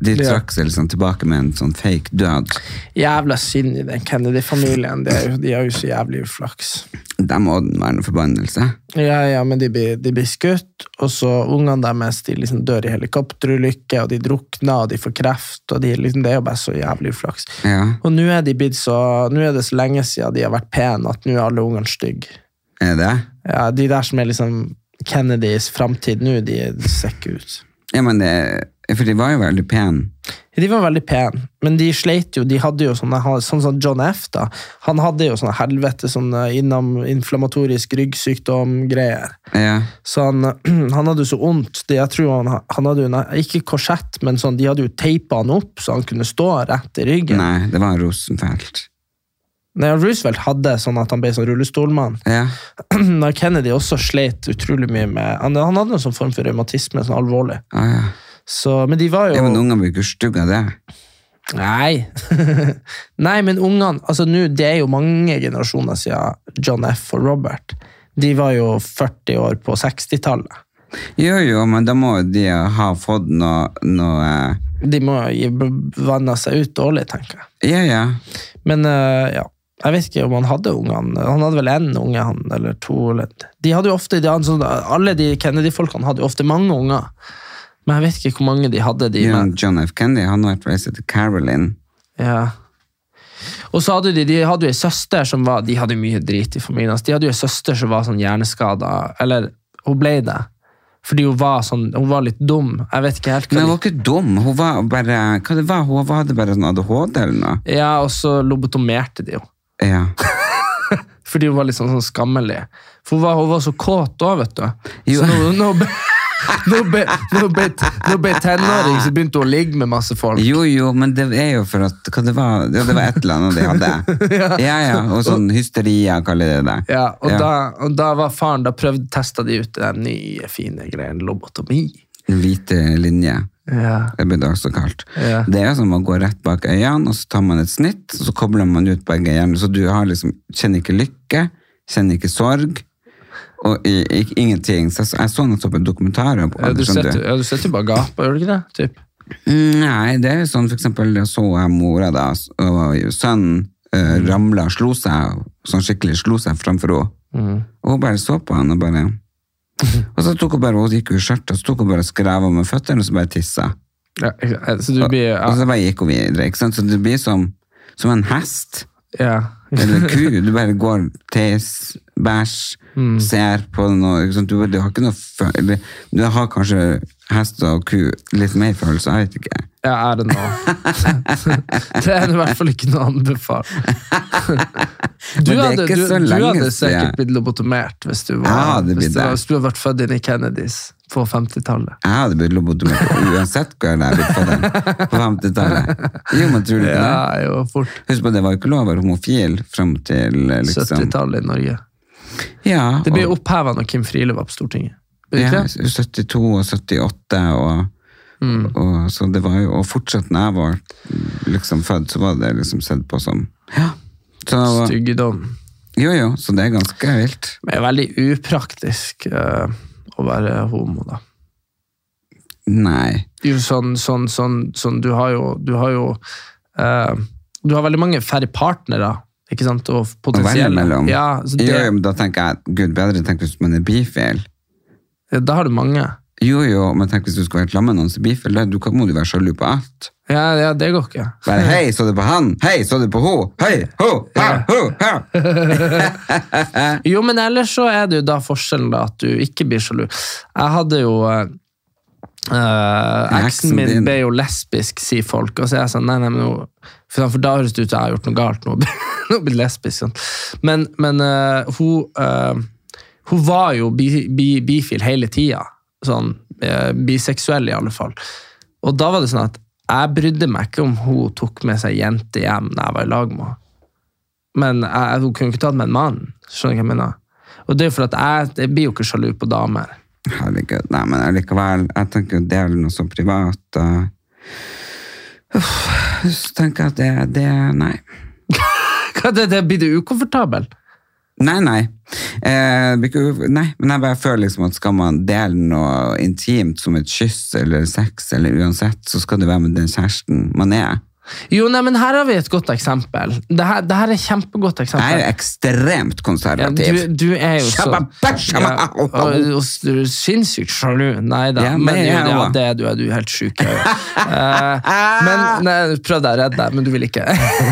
A: de trakk seg liksom tilbake med en sånn fake død.
B: Jævla synd i den Kennedy-familien. det er jo- De har jo så jævlig uflaks.
A: De må den være en forbannelse.
B: Ja, ja, men de blir, de blir skutt, og så ungene deres de liksom dør i helikopterulykke, og de drukner, og de får kreft, og de, liksom, det er jo bare så jævlig uflaks.
A: Ja,
B: Og nå er, de blitt så, nå er det så lenge siden de har vært pene at nå er alle ungene stygge.
A: er det?
B: Ja, de der som er liksom Kennedys framtid nå, de ser ikke ut.
A: Ja, men det, for de var jo veldig pene.
B: De var veldig pene, men de sleit jo. De hadde jo sånne, han- sånn som John F. da, Han hadde jo sånne helvete, sånne innom, inflammatorisk ryggsykdom-greier.
A: Ja,
B: Så han, han hadde jo så vondt. Det- Jeg tror han, han hadde jo, nei, ikke korsett, men sånn, de hadde jo teipa han opp, så han kunne stå rett i ryggen. Nei.
A: nei, det var Rosenfeldt.
B: Roosevelt hadde sånn at han ble sånn rullestolmann.
A: Ja,
B: Når Kennedy også sleit utrolig mye med Han, han hadde en sånn form for revmatisme, sånn alvorlig.
A: ah, ja.
B: Så, men de var jo
A: ja men ungene blir ikke stygge av det.
B: Nei. Nei, men ungene altså nå, Det er jo mange generasjoner siden John F. og Robert. De var jo 40 år på 60-tallet.
A: Jo, jo, men da må jo de ha fått noe, noe eh,
B: De må jo gi- vanne seg ut dårlig, tenker jeg.
A: eh, Ja, ja.
B: Men eh, ja, jeg vet ikke om han hadde ungene. Han hadde vel én unge, han, eller to. Eller. De hadde jo ofte, de hadde sånn, Alle de Kennedy-folkene hadde jo ofte mange unger. Men jeg vet ikke hvor mange de hadde. de
A: John,
B: med.
A: John F. Kennedy, han har vært reist til Caroline.
B: Ja. Og så hadde de, de hadde jo en søster som var, de hadde jo mye drit i familien hans. De hadde jo en søster som var sånn hjerneskada, eller hun ble det. Fordi hun var sånn, hun var litt dum. Jeg vet ikke helt
A: Men
B: hva
A: hun
B: de-
A: var ikke dum, hun var bare, hva det var, hun hadde bare sånn ADHD eller noe.
B: Ja, og så lobotomerte de jo.
A: Ja,
B: Fordi hun var litt sånn, sånn skammelig. For hun var, hun var så kåt òg, vet du.
A: Jo.
B: Så nå, nå, ble, nå, ble, nå, ble, nå ble tenåring, så begynte hun å ligge med masse folk.
A: jo jo, men det er jo for at, hva det var, ja, det var et eller annet de hadde. Ja, ja, og sånn hysteria, kaller de det.
B: Ja, og,
A: Ja.
B: Da, og da var faren, da prøvde, testa de ut den nye, fine greien lobotomi.
A: Den hvite linje,
B: Ja.
A: det ble det også kalt.
B: Ja.
A: Det er jo som å gå rett bak øynene, og så tar man et snitt, og så kobler man ut begge hjernene, så du har liksom, kjenner ikke lykke, kjenner ikke sorg, og i, i, ingenting. Så jeg, jeg så noe på dokumentarer på
B: Ja, du
A: det, skjønner
B: sitter ja, du sitter jo bare og gaper, gjør du ikke det? Typ.
A: Mm, Nei, det er jo sånn for eksempel jeg så jeg mora da, s- og sønnen eh, ramla og slo seg, sånn skikkelig slo seg framfor henne. Og hun bare så på han og bare Og så tok hun bare, hun gikk jo i skjørt, og så tok hun bare og skrev med føttene, og så bare tissa.
B: Ja, ikke sant? så du blir ja,
A: Og så bare gikk hun videre, ikke sant? Så det blir som, som en hest
B: ja.
A: eller ku. Du bare går, tes, bæsj, ser på noe. Ikke sant? Du, du har ikke noe fø- eller, Du har kanskje hest og ku litt mer følelse, jeg vet ikke.
B: ja, er det nå? det er i hvert fall ikke noe anbefalt. Du
A: det er
B: hadde,
A: ikke
B: du,
A: så
B: du
A: lenge
B: hadde
A: siden.
B: sikkert blitt lobotomert hvis du,
A: Jeg
B: var,
A: hadde blitt
B: hvis, du var,
A: det.
B: hvis du hadde vært født inn i Kennedys på 50-tallet.
A: Jeg hadde blitt lobotomert uansett hvor jeg hadde blitt født på 50-tallet. Jo, men tror du ikke det?
B: Ja, jo, fort.
A: Husk på, det var jo ikke lov å være homofil frem til eh, liksom
B: 70-tallet i Norge.
A: Ja,
B: Det ble
A: og-
B: oppheva når Kim Friele var på Stortinget. Ble det
A: ja,
B: ikke det?
A: 72 og 78 og,
B: Mm.
A: og så det var jo, og fortsatt når jeg var liksom født, så var det liksom sett på som, ja. Så,
B: Styggedom.
A: Jo, jo, så det er ganske vilt.
B: Men det er veldig upraktisk eh, å være homo, da.
A: Nei.
B: Det er jo sånn, sånn, sånn, sånn Du har jo Du har jo eh, Du har veldig mange færre partnere, ikke sant? Og
A: Å velge
B: potensielle.
A: mellom.
B: Ja, så det,
A: Jo, jo, men da tenker jeg, gud bedre tenk hvis man er bifil.
B: ja, da har du mange.
A: Jo, jo, men tenk hvis du skal være sammen med noen som er bifil, da du kan- må du være sjalu på alt.
B: Ja, ja, det går ikke.
A: Bare, hei, så du på han? Hei, så du på ho? Hei, ho, ha, ho, ha.
B: Eh, Jo, men ellers så er det jo da forskjellen da at du ikke blir sjalu. Jeg hadde jo eh, eh,
A: Eksen
B: Eksen min
A: din.
B: ble jo lesbisk, sier folk. Og så er jeg sånn, nei, nei, men nå For, da- for da høres det ut som jeg har gjort noe galt. Nå har jeg blitt lesbisk. Sånn. Men, men eh, hun eh, Hun var jo bi, bi, bifil hele tida. Sånn eh, biseksuell, i alle fall. Og da var det sånn at jeg brydde meg ikke om hun tok med seg jente hjem når jeg var i lag med henne. Men jeg, hun kunne ikke tatt med en mann. Skjønner du hva jeg mener? Og det er jo for at jeg, jeg blir jo ikke sjalu på damer.
A: Herregud, nei, men allikevel, jeg tenker jo det er vel noe så privat. da. Uff, så tenker jeg at det, det, nei.
B: Hva det, det blir du ukomfortabel?
A: Nei, nei. Eh, det blir ikke- nei. Men jeg bare føler liksom at skal man dele noe intimt som et kyss eller sex eller uansett, så skal det være med den kjæresten man er.
B: Jo, nei, men her har vi et godt eksempel. Dette, dette er et kjempegodt
A: Jeg
B: eksempel.
A: er ekstremt
B: Ja,
A: konservativ.
B: du, du er jo så
A: Shabba bash, shabba
B: ja,
A: au, au.
B: og, og, du er sinnssykt sjalu. Nei da,
A: Ja, men
B: men
A: jeg
B: jo, ja,
A: også.
B: det er du. Er du er helt sjuk? Ja, ja.
A: Ah!
B: Eh, men nei, prøv deg å redde deg, men du vil ikke.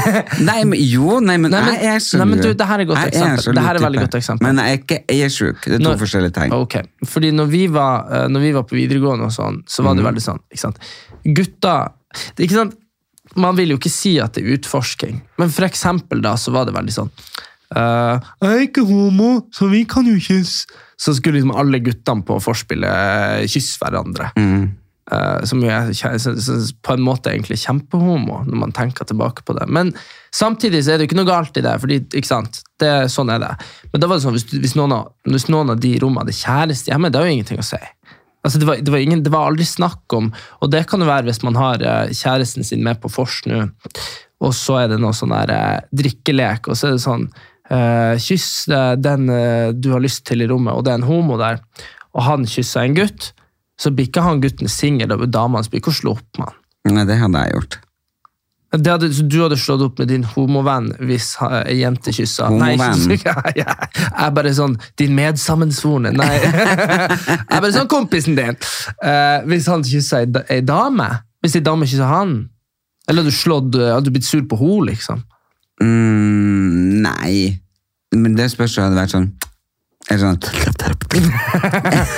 A: Nei, men jo, nei, men,
B: Nei, men-
A: jeg er sjalu.
B: nei, men du, det her er et godt
A: Jeg
B: eksempel.
A: en sjalu
B: Det her er
A: type.
B: veldig godt eksempel.
A: Men jeg er ikke jeg er sjuk. Det er to
B: Når-
A: forskjellige ting.
B: Ok, fordi når vi var, eh, når vi var på videregående og sånn, så var det veldig sånn, ikke sant? Gutta, det, er ikke sant? Man vil jo ikke si at det er utforsking, men for eksempel da, så var det veldig sånn, eh, jeg er ikke homo, så vi kan jo kysse. Så skulle liksom alle guttene på forspillet eh, kysse hverandre. Eh, som jo er kje- så- så- på en måte egentlig kjempehomo, når man tenker tilbake på det. Men samtidig så er det jo ikke noe galt i det, fordi, ikke sant? Det, sånn er det. Men da var det sånn, hvis, du- hvis, noen, av, hvis noen av de rommene hadde kjæreste hjemme, det har jo ingenting å si. Altså, det, var, det, var ingen, det var aldri snakk om, og det kan jo være hvis man har eh, kjæresten sin med på fors nå, og så er det noe sånn der eh, drikkelek, og så er det sånn, eh, kyss eh, den eh, du har lyst til i rommet, og det er en homo der, og han kysser en gutt, så blir ikke han gutten singel, og dama hans blir ikke å slå opp med han.
A: Nei, det hadde jeg gjort.
B: Det hadde, så du hadde slått opp med din homovenn hvis ha- ei jente kyssa Nei,
A: Homovenn?
B: ikke- jeg er bare sånn Din medsammensvorne Nei. Jeg er bare sånn kompisen din. Eh, hvis han kyssa ei, da- ei dame Hvis ei dame kyssa han Eller hadde du slått eh, Hadde du blitt sur på henne, liksom?
A: Mm, nei. Men det spørs jo hadde vært sånn Eller sånn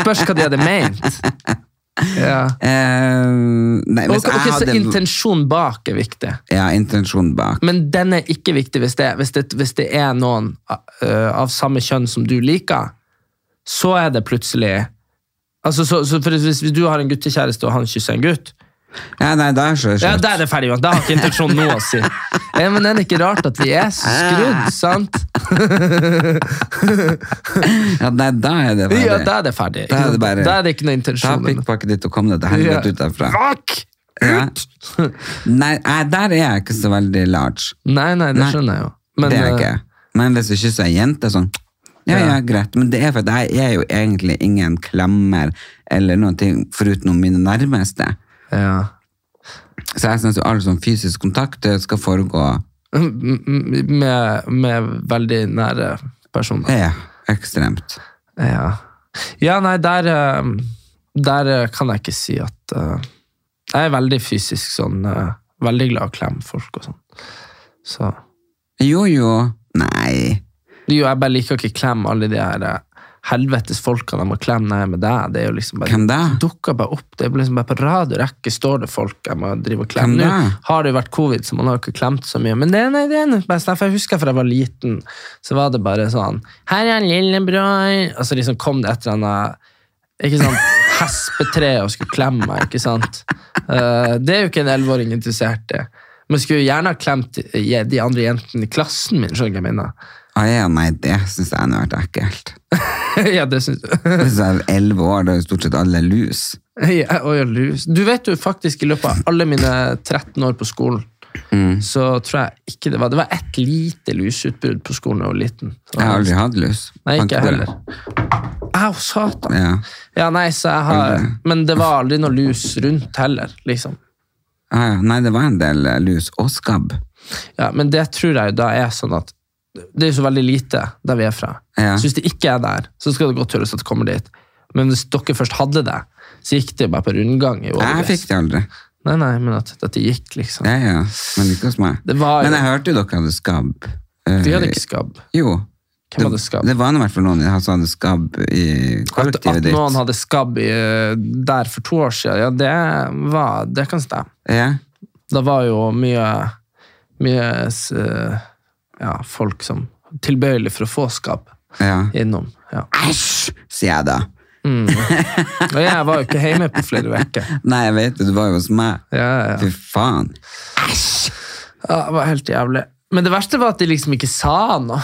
B: Spørs hva de hadde ment. Ja.
A: eh, Nei,
B: Og,
A: hvis
B: ok,
A: jeg
B: så
A: hadde
B: intensjonen bak er viktig.
A: Ja, intensjon bak.
B: Men den er ikke viktig hvis det, hvis det, hvis det er noen øh, av samme kjønn som du liker. Så er det plutselig altså, så, så for hvis, hvis du har en guttekjæreste og han kysser en gutt,
A: Ja, nei, da er det så
B: ja,
A: slutt.
B: da er det ferdig. Johan. Da har ikke intensjonen noe å si. Ja, men er det ikke rart at vi er så skrudd, sant?
A: Ja, nei, da er det ferdig.
B: Ja, da er det ferdig.
A: Da er det bare-
B: Da er det ikke noe
A: Ta
B: intensjon.
A: pikkpakket ditt og kom deg til helvete
B: Ja.
A: ut derfra.
B: Fuck!
A: Ja. Nei, nei, der er jeg ikke så veldig large.
B: Nei, nei, det
A: Nei,
B: skjønner jeg jo.
A: det er
B: øh,
A: jeg ikke. Men hvis du kysser ei jente, sånn ja, ja, greit. Men det er for at jeg er jo egentlig ingen klemmer eller noen ting foruten om mine nærmeste.
B: eh, Ja.
A: Så jeg syns jo all sånn fysisk kontakt det skal foregå
B: M- m- Med, med veldig nære personer.
A: Ja, ekstremt.
B: Ja, ja nei, der, eh, der eh, kan jeg ikke si at eh, Jeg er veldig fysisk sånn eh, Veldig glad i å klemme folk og sånn. Så
A: Jo, jo. Nei.
B: Jo, jeg bare liker ikke klemme alle de her eh, helvetes folkene jeg må klemme når jeg er med deg. Det er jo liksom bare
A: Hvem da?
B: dukker bare opp. Det er liksom bare på rad og rekke står det folk jeg må drive og
A: Hvem
B: klemme. Nå
A: da?
B: har det jo vært covid, så man har jo ikke klemt så mye. Men det, nei, det er noe best. For jeg husker fra jeg var liten, så var det bare sånn Her er lillebror. Og så liksom kom det et eller annet ikke sant, hespetre og skulle klemme meg. ikke sant? Eh, det er jo ikke en elleveåring interessert i. Men skulle jo gjerne ha klemt eh, de andre jentene i klassen min. skjønner du hva jeg mener?
A: Å Ah, ja, nei, det syns jeg nå har vært ekkelt.
B: ja, det syns du.
A: Jeg synes jeg er 11 år, da er jo stort sett alle lus.
B: Ja, og jeg er lus. Du vet jo faktisk, i løpet av alle mine 13 år på skolen,
A: Mm.
B: så tror jeg ikke det var Det var ett lite lusutbrudd på skolen da jeg var liten. Så-
A: Jeg har aldri hatt lus.
B: Nei, ikke jeg
A: Kan
B: heller. Au, satan!
A: Ja.
B: Ja, nei, så jeg har
A: Aldri.
B: Men det var aldri noe lus rundt heller, liksom.
A: Ah, ja. Nei, det var en del eh, lus og skabb.
B: Ja, men det tror jeg jo da er sånn at Det er jo så veldig lite der vi er fra.
A: Ja.
B: Så hvis det ikke er der, så skal det godt gjøres at det kommer dit. Men hvis dere først hadde det, så gikk det jo bare på rundgang. i
A: Jeg
B: årevis.
A: fikk det aldri.
B: Nei, nei, men at dette gikk, liksom.
A: Ja, ja. Men ikke hos meg.
B: Det var jo-
A: Men jeg hørte jo dere hadde skabb. Eh,
B: Vi hadde ikke skabb.
A: Jo.
B: Hvem hadde skabb?
A: Det var nå i hvert fall noen som hadde skabb i
B: At, at
A: kollektivet ditt.
B: noen hadde skabb i, eh, der for to år siden, ja, det, var, det kan stemme.
A: Ja.
B: Det var jo mye, mye s- ja, folk som tilbøyelig for å få skabb
A: ja.
B: innom. Ja.
A: Æsj, sier jeg da.
B: Og jeg var jo ikke hjemme på flere uker.
A: Nei, jeg vet det, du var jo hos meg.
B: Ja, ja.
A: Fy faen.
B: ja, det var helt jævlig. Men det verste var at de liksom ikke sa noe.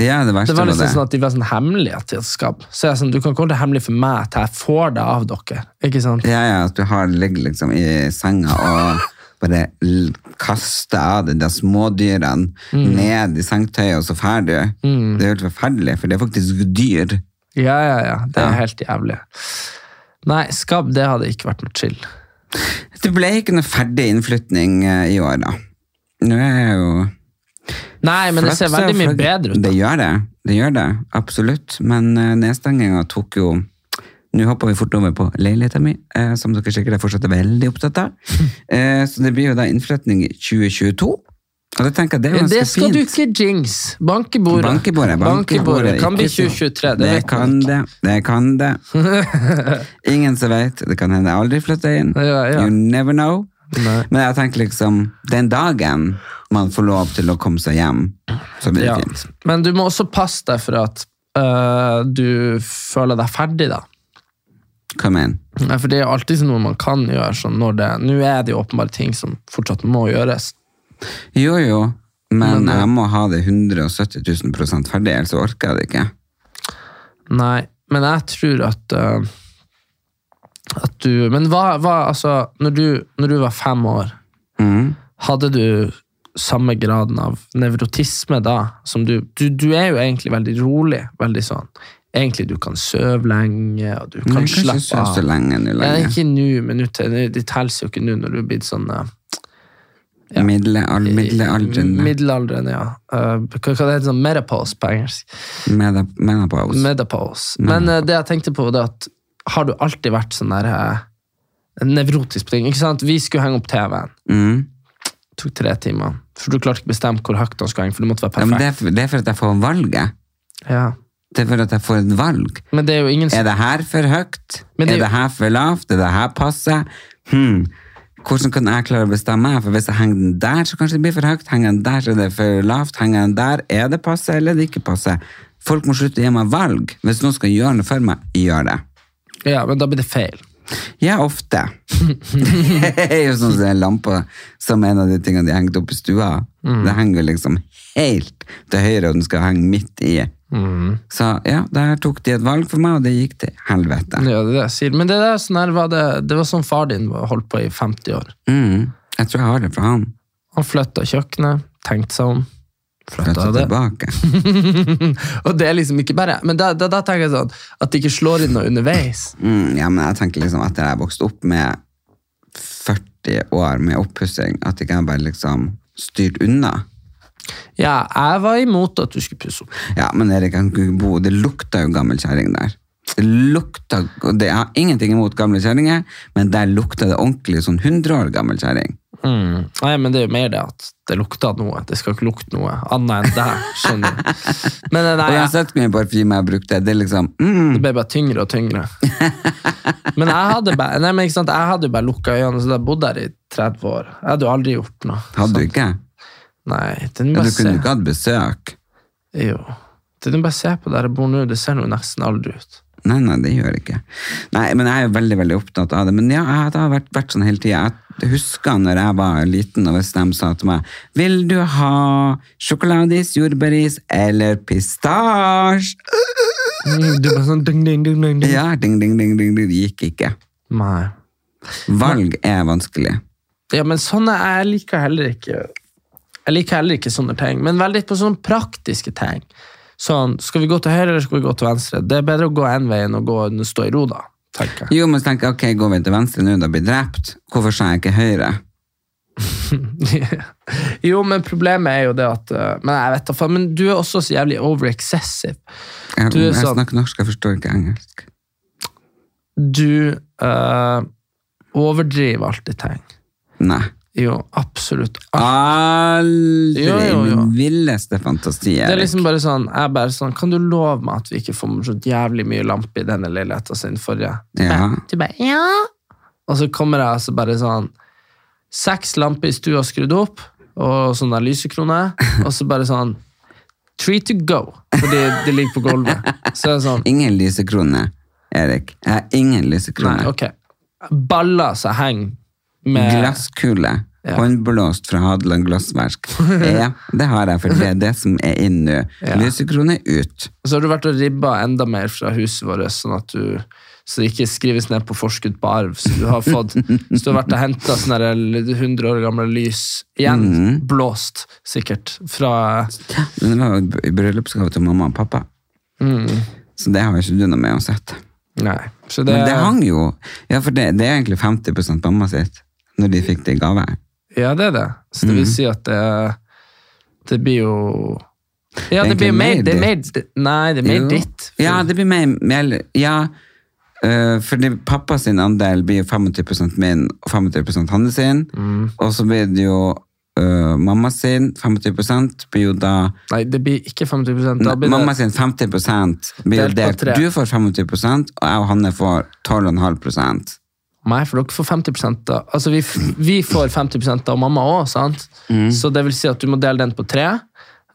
A: Ja, det verste
B: Det var
A: var
B: liksom
A: det.
B: sånn at De var sånn hemmelige. at de hadde skabb. Så jeg er sånn, Du kan ikke holde det hemmelig for meg til jeg får det av dere. Ikke sant?
A: Ja, ja, at du har ligger liksom i senga og bare l- kaster av de der smådyrene
B: Mm.
A: ned i sengetøyet, og så fær du. Det er jo helt forferdelig, for det er faktisk dyr.
B: Ja, ja, ja. Det er
A: Ja.
B: helt jævlig. Nei, skabb det hadde ikke vært noe chill.
A: Det ble ikke noe ferdig innflytning eh, i år, da. Nå er jeg jo
B: Nei, men det ser
A: Flaks er
B: veldig mye
A: flaks-
B: bedre ut. da.
A: Det gjør det. Det gjør det, absolutt. Men eh, nedstenginga tok jo Nå hopper vi fort over på leiligheta mi, eh, som dere sikkert er fortsatt veldig opptatt av. Eh, så det blir jo da innflytning i 2022. Og det tenker jeg det er
B: Men
A: ganske
B: Eh, Det skal
A: fint.
B: du ikke jinx! Banke i bordet.
A: Bankebordet.
B: Bankebordet. Kan bli
A: ikke-
B: 2023. Det,
A: Det
B: vet man
A: kan
B: ikke.
A: det. Det kan det. Ingen som vet. Det kan hende jeg aldri flytter inn.
B: Ja, ja.
A: You never know.
B: Nei.
A: Men jeg tenker liksom, den dagen man får lov til å komme seg hjem, så blir det
B: Ja.
A: fint.
B: Men du må også passe deg for at øh, du føler deg ferdig, da.
A: Kom inn.
B: Nei, For det er jo alltid sånn noe man kan gjøre. Sånn når det, Nå er det jo åpenbare ting som fortsatt må gjøres.
A: Jo, jo. Men
B: eh,
A: jeg må ha det 170 000 prosent ferdig, ellers orker jeg det ikke.
B: Nei, men jeg tror at øh, At du Men hva, hva altså når du, når du var fem år,
A: Mm.
B: hadde du samme graden av nevrotisme da? Som du, du, du er jo egentlig veldig rolig. Veldig sånn Egentlig du kan sove lenge, og du kan
A: Men jeg kan ikke
B: slappe
A: sove
B: av.
A: så lenge nå
B: Ja,
A: lenger.
B: ikke nå, men nå til- nå- det teller jo ikke nå når du er blitt sånn eh, Ja.
A: Middelal- Middelaldrende.
B: middelaldrende, ja. Eh, hva, hva det heter sånn menopause på engelsk?
A: Meda- Menopause.
B: Menopause.
A: Mm.
B: Men eh, det jeg tenkte på, var det at har du alltid vært sånn der eh, nevrotisk på ting? Ikke sant? Vi skulle henge opp TV-en.
A: Mm.
B: Tok tre timer. For du klarte ikke bestemme hvor høyt den skulle henge, for det måtte være
A: Ja, men
B: perfekt.
A: det, er for, det er for at jeg får valget.
B: Ja.
A: Det er for at jeg får et valg.
B: Men det er jo ingen
A: Er det her for høyt?
B: Men det-
A: er det her for lavt? Er det her passe? Hmm. Hvordan kan jeg klare å bestemme meg? For hvis jeg henger den der, så kanskje det blir for høyt. Henger den der, så er det for lavt. Henger den der, er det passe eller er det ikke passe? Folk må slutte å gi meg valg. Hvis noen skal gjøre noe for meg, gjør det.
B: Ja, men da blir det feil.
A: Ja, ofte. det er jo sånn som en lampe, som en av de tingene de hengte opp i stua.
B: Mm.
A: Det henger jo liksom helt til høyre, og den skal henge midt i. Så ja, der tok de et valg for meg, og det gikk til helvete.
B: Ja, det er det jeg sier. Men det, der, sånn her, var det, det var sånn far din holdt på i 50 år.
A: Mm. Jeg tror jeg har det fra han.
B: Han flytta kjøkkenet, tenkte seg om, flytta
A: Flytta
B: det.
A: tilbake.
B: Og det er liksom ikke bare Men da, da, da tenker jeg sånn at det ikke slår inn noe underveis.
A: Mm, ja, men jeg tenker liksom etter jeg vokste opp med 40 år med oppussing, at ikke jeg bare liksom styrt unna.
B: Ja, jeg var imot at du skulle pusse opp.
A: Ja, men Erik, han kunne ikke bo. det lukta jo gammel kjerring der. Det lukta, og det, Jeg har ingenting imot gamle kjerringer, men der lukta det ordentlig sånn 100 år gammel kjerring.
B: Mm. Nei, men det er jo mer det at det lukta noe. Det skal ikke lukte noe annet enn det her. Skjønner du? Men eh, nei,
A: Og
B: jeg,
A: uansett hvor mye parfyme jeg brukte, det er liksom mm,
B: det ble bare tyngre og tyngre. Men jeg hadde bare, nei, men ikke sant, jeg hadde jo bare lukka øynene, så jeg bodde der i 30 år. Jeg hadde jo aldri gjort noe.
A: Hadde du ikke?
B: Nei, den
A: Ja,
B: bare
A: du kunne
B: se.
A: jo ikke hatt besøk.
B: Jo. Det du bare ser på der jeg bor nå, det ser jo nesten aldri ut.
A: Nei, nei, det gjør jeg ikke. Nei, men jeg er jo veldig, veldig opptatt av det. Men ja, jeg har vært, vært sånn hele tiden. Jeg husker når jeg var liten, og hvis de sa til meg, vil du ha sjokoladis, jordbæris eller pistasj?
B: Du bare sånn ding, ding, ding, ding, ding.
A: Ja, ding, ding, ding, ding, ding, det gikk ikke.
B: Nei.
A: Valg er vanskelig.
B: Ja, men sånne jeg liker heller ikke. Jeg liker heller ikke sånne ting, men veldig på sånne praktiske ting. Sånn, skal vi gå til høyre eller skal vi gå til venstre? Det er bedre å gå en vei enn å gå enn å stå i ro, da, tenker jeg.
A: Jo, men så tenker jeg, ok, går vi til venstre nå, da blir jeg drept. Hvorfor sa jeg ikke høyre?
B: jo, men problemet er jo det at eh, Men jeg vet da faen, men du er også så jævlig over-excessive.
A: Jeg,
B: Du er
A: jeg
B: sånn-
A: snakker norsk, jeg forstår ikke engelsk.
B: Du eh, overdriver alltid ting.
A: Nei.
B: Jo, absolutt.
A: Aldri
B: Ah. Jo, jo,
A: i
B: jo.
A: min villeste fantasi,
B: Det er
A: Erik.
B: liksom bare sånn, jeg er bare sånn, Kan du love meg at vi ikke får så jævlig mye lampe i denne leiligheten sin forrige?
A: Ja.
B: Du bare, ja. Og så kommer jeg altså bare sånn Seks lamper i stua skrudd opp, og sånn der lysekrone, og så bare sånn Three to go, fordi det ligger på gulvet. Så er det sånn
A: Ingen lysekrone, Erik. Jeg har ingen lysekrone.
B: Nei, ok. Baller som henger med
A: Glasskule. Håndblåst fra Hadeland glassverk. Ja, det har jeg, for det er det som er inn nå. Lysekrone ut.
B: Så har du vært og ribba enda mer fra huset vårt, sånn at du så det ikke skrives ned på forskudd på arv. Så du har fått, så du har vært og sånn henta 100 år gamle lys igjen,
A: Mhm.
B: blåst sikkert, fra
A: Men det var jo i bryllupsgave til mamma og pappa.
B: Mm.
A: Så det har jo ikke du noe med å sette.
B: Nei. Så det,
A: Men det hang jo Ja, for det, det er egentlig 50 mamma sitt, når de fikk det i gave.
B: Ja, det er det. Så det vil
A: Mhm.
B: si at det, det blir jo Ja, det,
A: Det er
B: blir
A: egentlig
B: mer,
A: mer
B: det er mer Nei, det er mer
A: Jo.
B: ditt.
A: Ja, det blir mer, mer Ja, øh, fordi pappa sin andel blir jo 25 min og 25 hans sin.
B: Mm.
A: Og så blir det jo øh, mamma sin 25 blir jo da
B: Nei, det blir ikke 50 da
A: Nei,
B: blir det,
A: Mamma sin 50 blir jo
B: Delt på
A: delt.
B: tre.
A: Du får 25 og jeg og Hanne får 12,5
B: Nei, for dere får 50 da. Altså, vi, f- vi får 50 av mamma òg, sant?
A: Mhm.
B: Så det vil si at du må dele den på tre.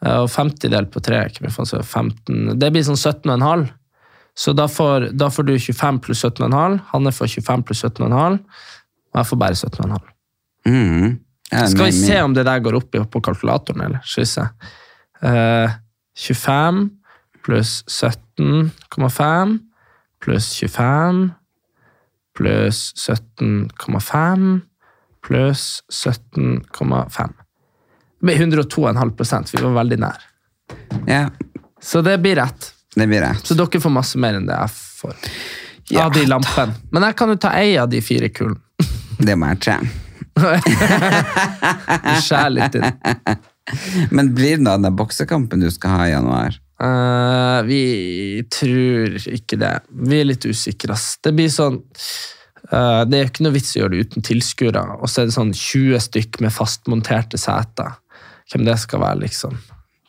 B: eh, Og 50 delt på tre, ikke mye faen, så 15 sånn Det blir sånn 17,5. Så da får, da får du 25 pluss 17,5. Hanne får 25 pluss 17,5. Og jeg får bare 17,5.
A: Mm. Ja,
B: Skal
A: min-
B: vi se
A: min-
B: om det der går opp i- på kalkulatoren, eller? Skal vi se. Eh, 25 pluss 17,5 pluss 25 pluss 17,5 pluss 17,5. Det blir 102,5 Vi var veldig nær.
A: Ja,
B: Så det blir rett.
A: det blir rett.
B: Så dere får masse mer enn det jeg får.
A: Ja,
B: av de lampene. Men jeg kan jo ta ei av de fire kulene.
A: Det må jeg tre.
B: Skjær litt inn.
A: Men blir det da den der boksekampen du skal ha i januar?
B: Eh, vi tror ikke det. Vi er litt usikre. ass. Det blir sånn eh, Det er jo ikke noe vits i å gjøre det uten tilskuere. Og så er det sånn 20 stykk med fastmonterte seter. Hvem det skal være, liksom.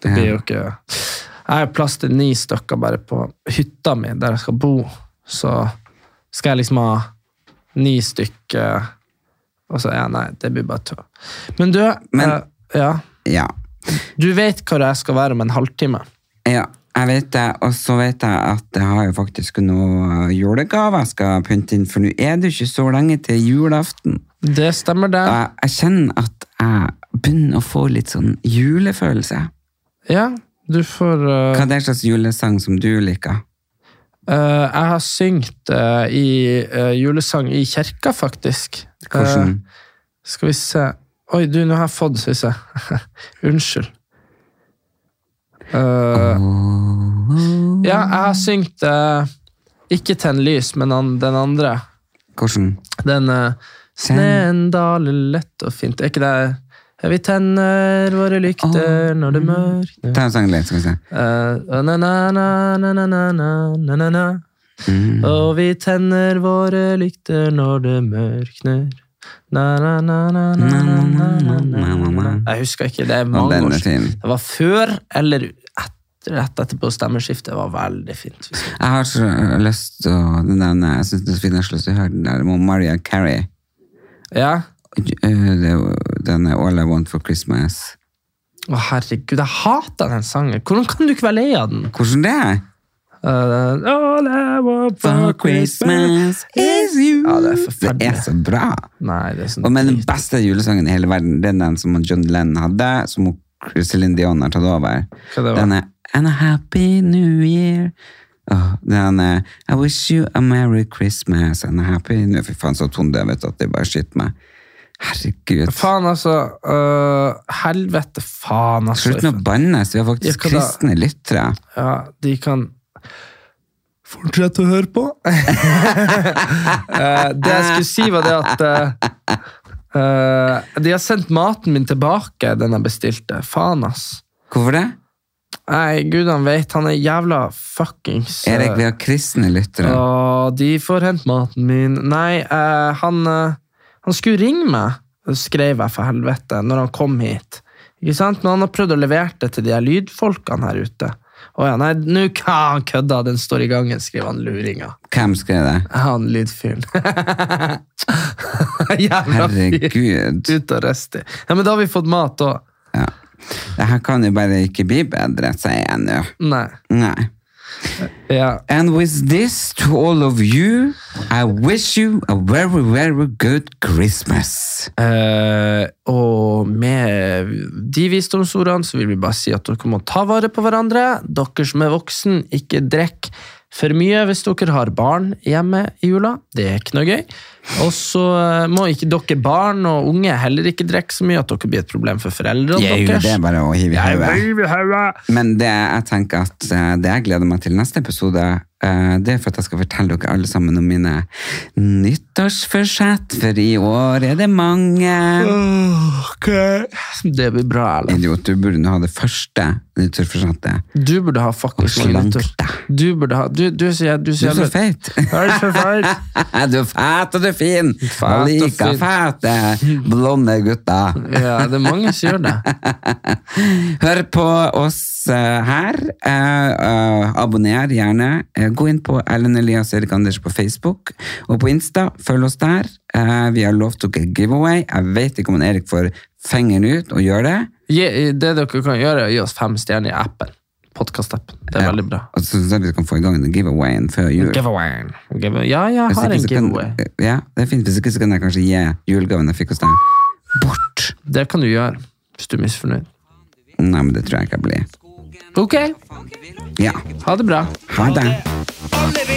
B: Det blir jo ikke Jeg har plass til ni stykker bare på hytta mi, der jeg skal bo. Så skal jeg liksom ha ni stykker Og så ja, nei, det blir bare tøv. Men du,
A: Men-
B: eh, ja,
A: Ja.
B: du vet hvor jeg skal være om en halvtime?
A: Ja, jeg vet det, og så vet jeg at jeg har jo faktisk noen julegaver jeg skal pynte inn, for nå er det jo ikke så lenge til julaften.
B: Det stemmer, det.
A: Og jeg, jeg kjenner at jeg begynner å få litt sånn julefølelse.
B: Ja, du får eh,
A: Hva er det slags julesang som du liker?
B: eh, Jeg har syngt eh, i eh, julesang i kirka, faktisk.
A: Hvordan?
B: Eh, skal vi se Oi, du, nå har jeg fått, skal vi se. Unnskyld. Eh, ja, jeg har syngt eh, Ikke tenn lys, men an, den andre.
A: Hvordan?
B: Den eh, Sneen daler lett og fint. Er ikke det Ja, vi tenner våre lykter når det mørkner
A: Ta en sang litt, skal vi se.
B: Eh, na-na-na-na-na-na-na-na-na.
A: Mm.
B: Og vi tenner våre lykter når det mørkner. Na-na-na-na-na-na-na-na. Jeg husker ikke. Det er
A: Og
B: mange
A: den
B: år
A: er
B: siden.
A: fin.
B: Det var før eller etter, rett etterpå stemmeskiftet. Det var veldig fint.
A: Jeg har så lyst til å nevne Jeg syns det er så fint jeg har så lyst til å høre den der med Mariah Carey.
B: Ja.
A: Eh, det er jo- Den er All I Want for Christmas.
B: Å, herregud, jeg hater den sangen. Hvordan kan du ikke være lei av den?
A: Hvordan det er?
B: Eh, all I want for
A: For
B: Christmas
A: Christmas is you.
B: Ja, det er forferdelig.
A: det er så bra.
B: Nei, det er sånn
A: Og men den beste julesangen i hele verden, det er den som John Lennon hadde, som hun- Celine Dion har tatt over.
B: Hva det var?
A: Den er And a happy new year. Åh, den er I wish you a merry Christmas and a happy new Fy faen, så tondøv vet du, at det bare skyter meg. Herregud.
B: Faen, altså. øh, helvete, faen, altså.
A: Slutt med å bannes, vi har faktisk
B: Ja, hva da?
A: kristne lyttere.
B: Ja, de kan fortsette å høre på. Eh, det jeg skulle si, var det at eh, eh, De har sendt maten min tilbake, den jeg bestilte. Faen, ass.
A: Hvorfor det?
B: Nei, gud han vet, han er jævla fuckings eh,
A: Erik, vi har kristne lyttere.
B: Å, de får hente maten min. Nei, eh, han, eh, han skulle ringe meg, skrev jeg for helvete, når han kom hit. Ikke sant? Men han har prøvd å levere det til de her lydfolkene her ute. Å ja, nei, nå k- Ah, han kødda, den står i gangen, skriver han luringa.
A: Hvem skrev det?
B: Han lydfyren. Jævla fyr.
A: Herregud.
B: Ut og røst i. Ja, men da har vi fått mat òg.
A: Ja. Det her kan jo bare ikke bli bedre, sier jeg nå.
B: Nei.
A: Nei.
B: Ja.
A: And with this to all of you, I wish you a very, very good Christmas.
B: Eh, og med de visdomsordene så vil vi bare si at dere må ta vare på hverandre. Dere som er voksen, ikke drikk for mye hvis dere har barn hjemme i jula. Det er ikke noe gøy. Og så eh, må ikke dere barn og unge heller ikke drikke så mye at dere blir et problem for foreldrene
A: Det er
B: deres.
A: bare å hive i
B: Jeg
A: hodet.
B: vil i hodet.
A: Men det jeg tenker at eh, det jeg gleder meg til neste episode, eh, det er for at jeg skal fortelle dere alle sammen om mine nyttårsforsett, for i år er det mange.
B: Det blir bra, Erlend.
A: Idiot, du burde nå ha det første nyttårsforsettet.
B: Du burde ha faktisk
A: Og slank
B: nyttårs-
A: deg.
B: Du burde ha Du, du sier Du
A: Du
B: sier
A: er så feit.
B: Er du så feit?
A: Du er fet og du er fin.
B: Fet og
A: og like
B: fin.
A: fete blonde gutter.
B: Ja, det er mange som gjør det.
A: Hør på oss eh, her. Eh, eh, abonner gjerne. Eh, gå inn på Ellen Elias Erik Anders på Facebook og på Insta. Følg oss der. Eh, vi har lovt dere giveaway. Jeg vet ikke om han Erik får fingeren ut og gjør det.
B: Gi- Det dere kan gjøre, er å gi oss fem stjerner i appen. Podkast-appen. Det er
A: Ja.
B: veldig bra.
A: Og så synes jeg vi kan få i gang den giveawayen før jul.
B: Giveaway. Give- Ja, jeg
A: Hvis
B: har
A: ikke
B: en
A: så kan-
B: giveaway.
A: Ja, det er fint. Hvis ikke så kan jeg kanskje gi julegaven jeg fikk hos deg, bort.
B: Det kan du gjøre hvis du er misfornøyd.
A: Nei, men det tror jeg ikke jeg blir.
B: Ok,
A: Ja.
B: ha det bra.
A: Ha det.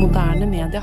C: Moderne media.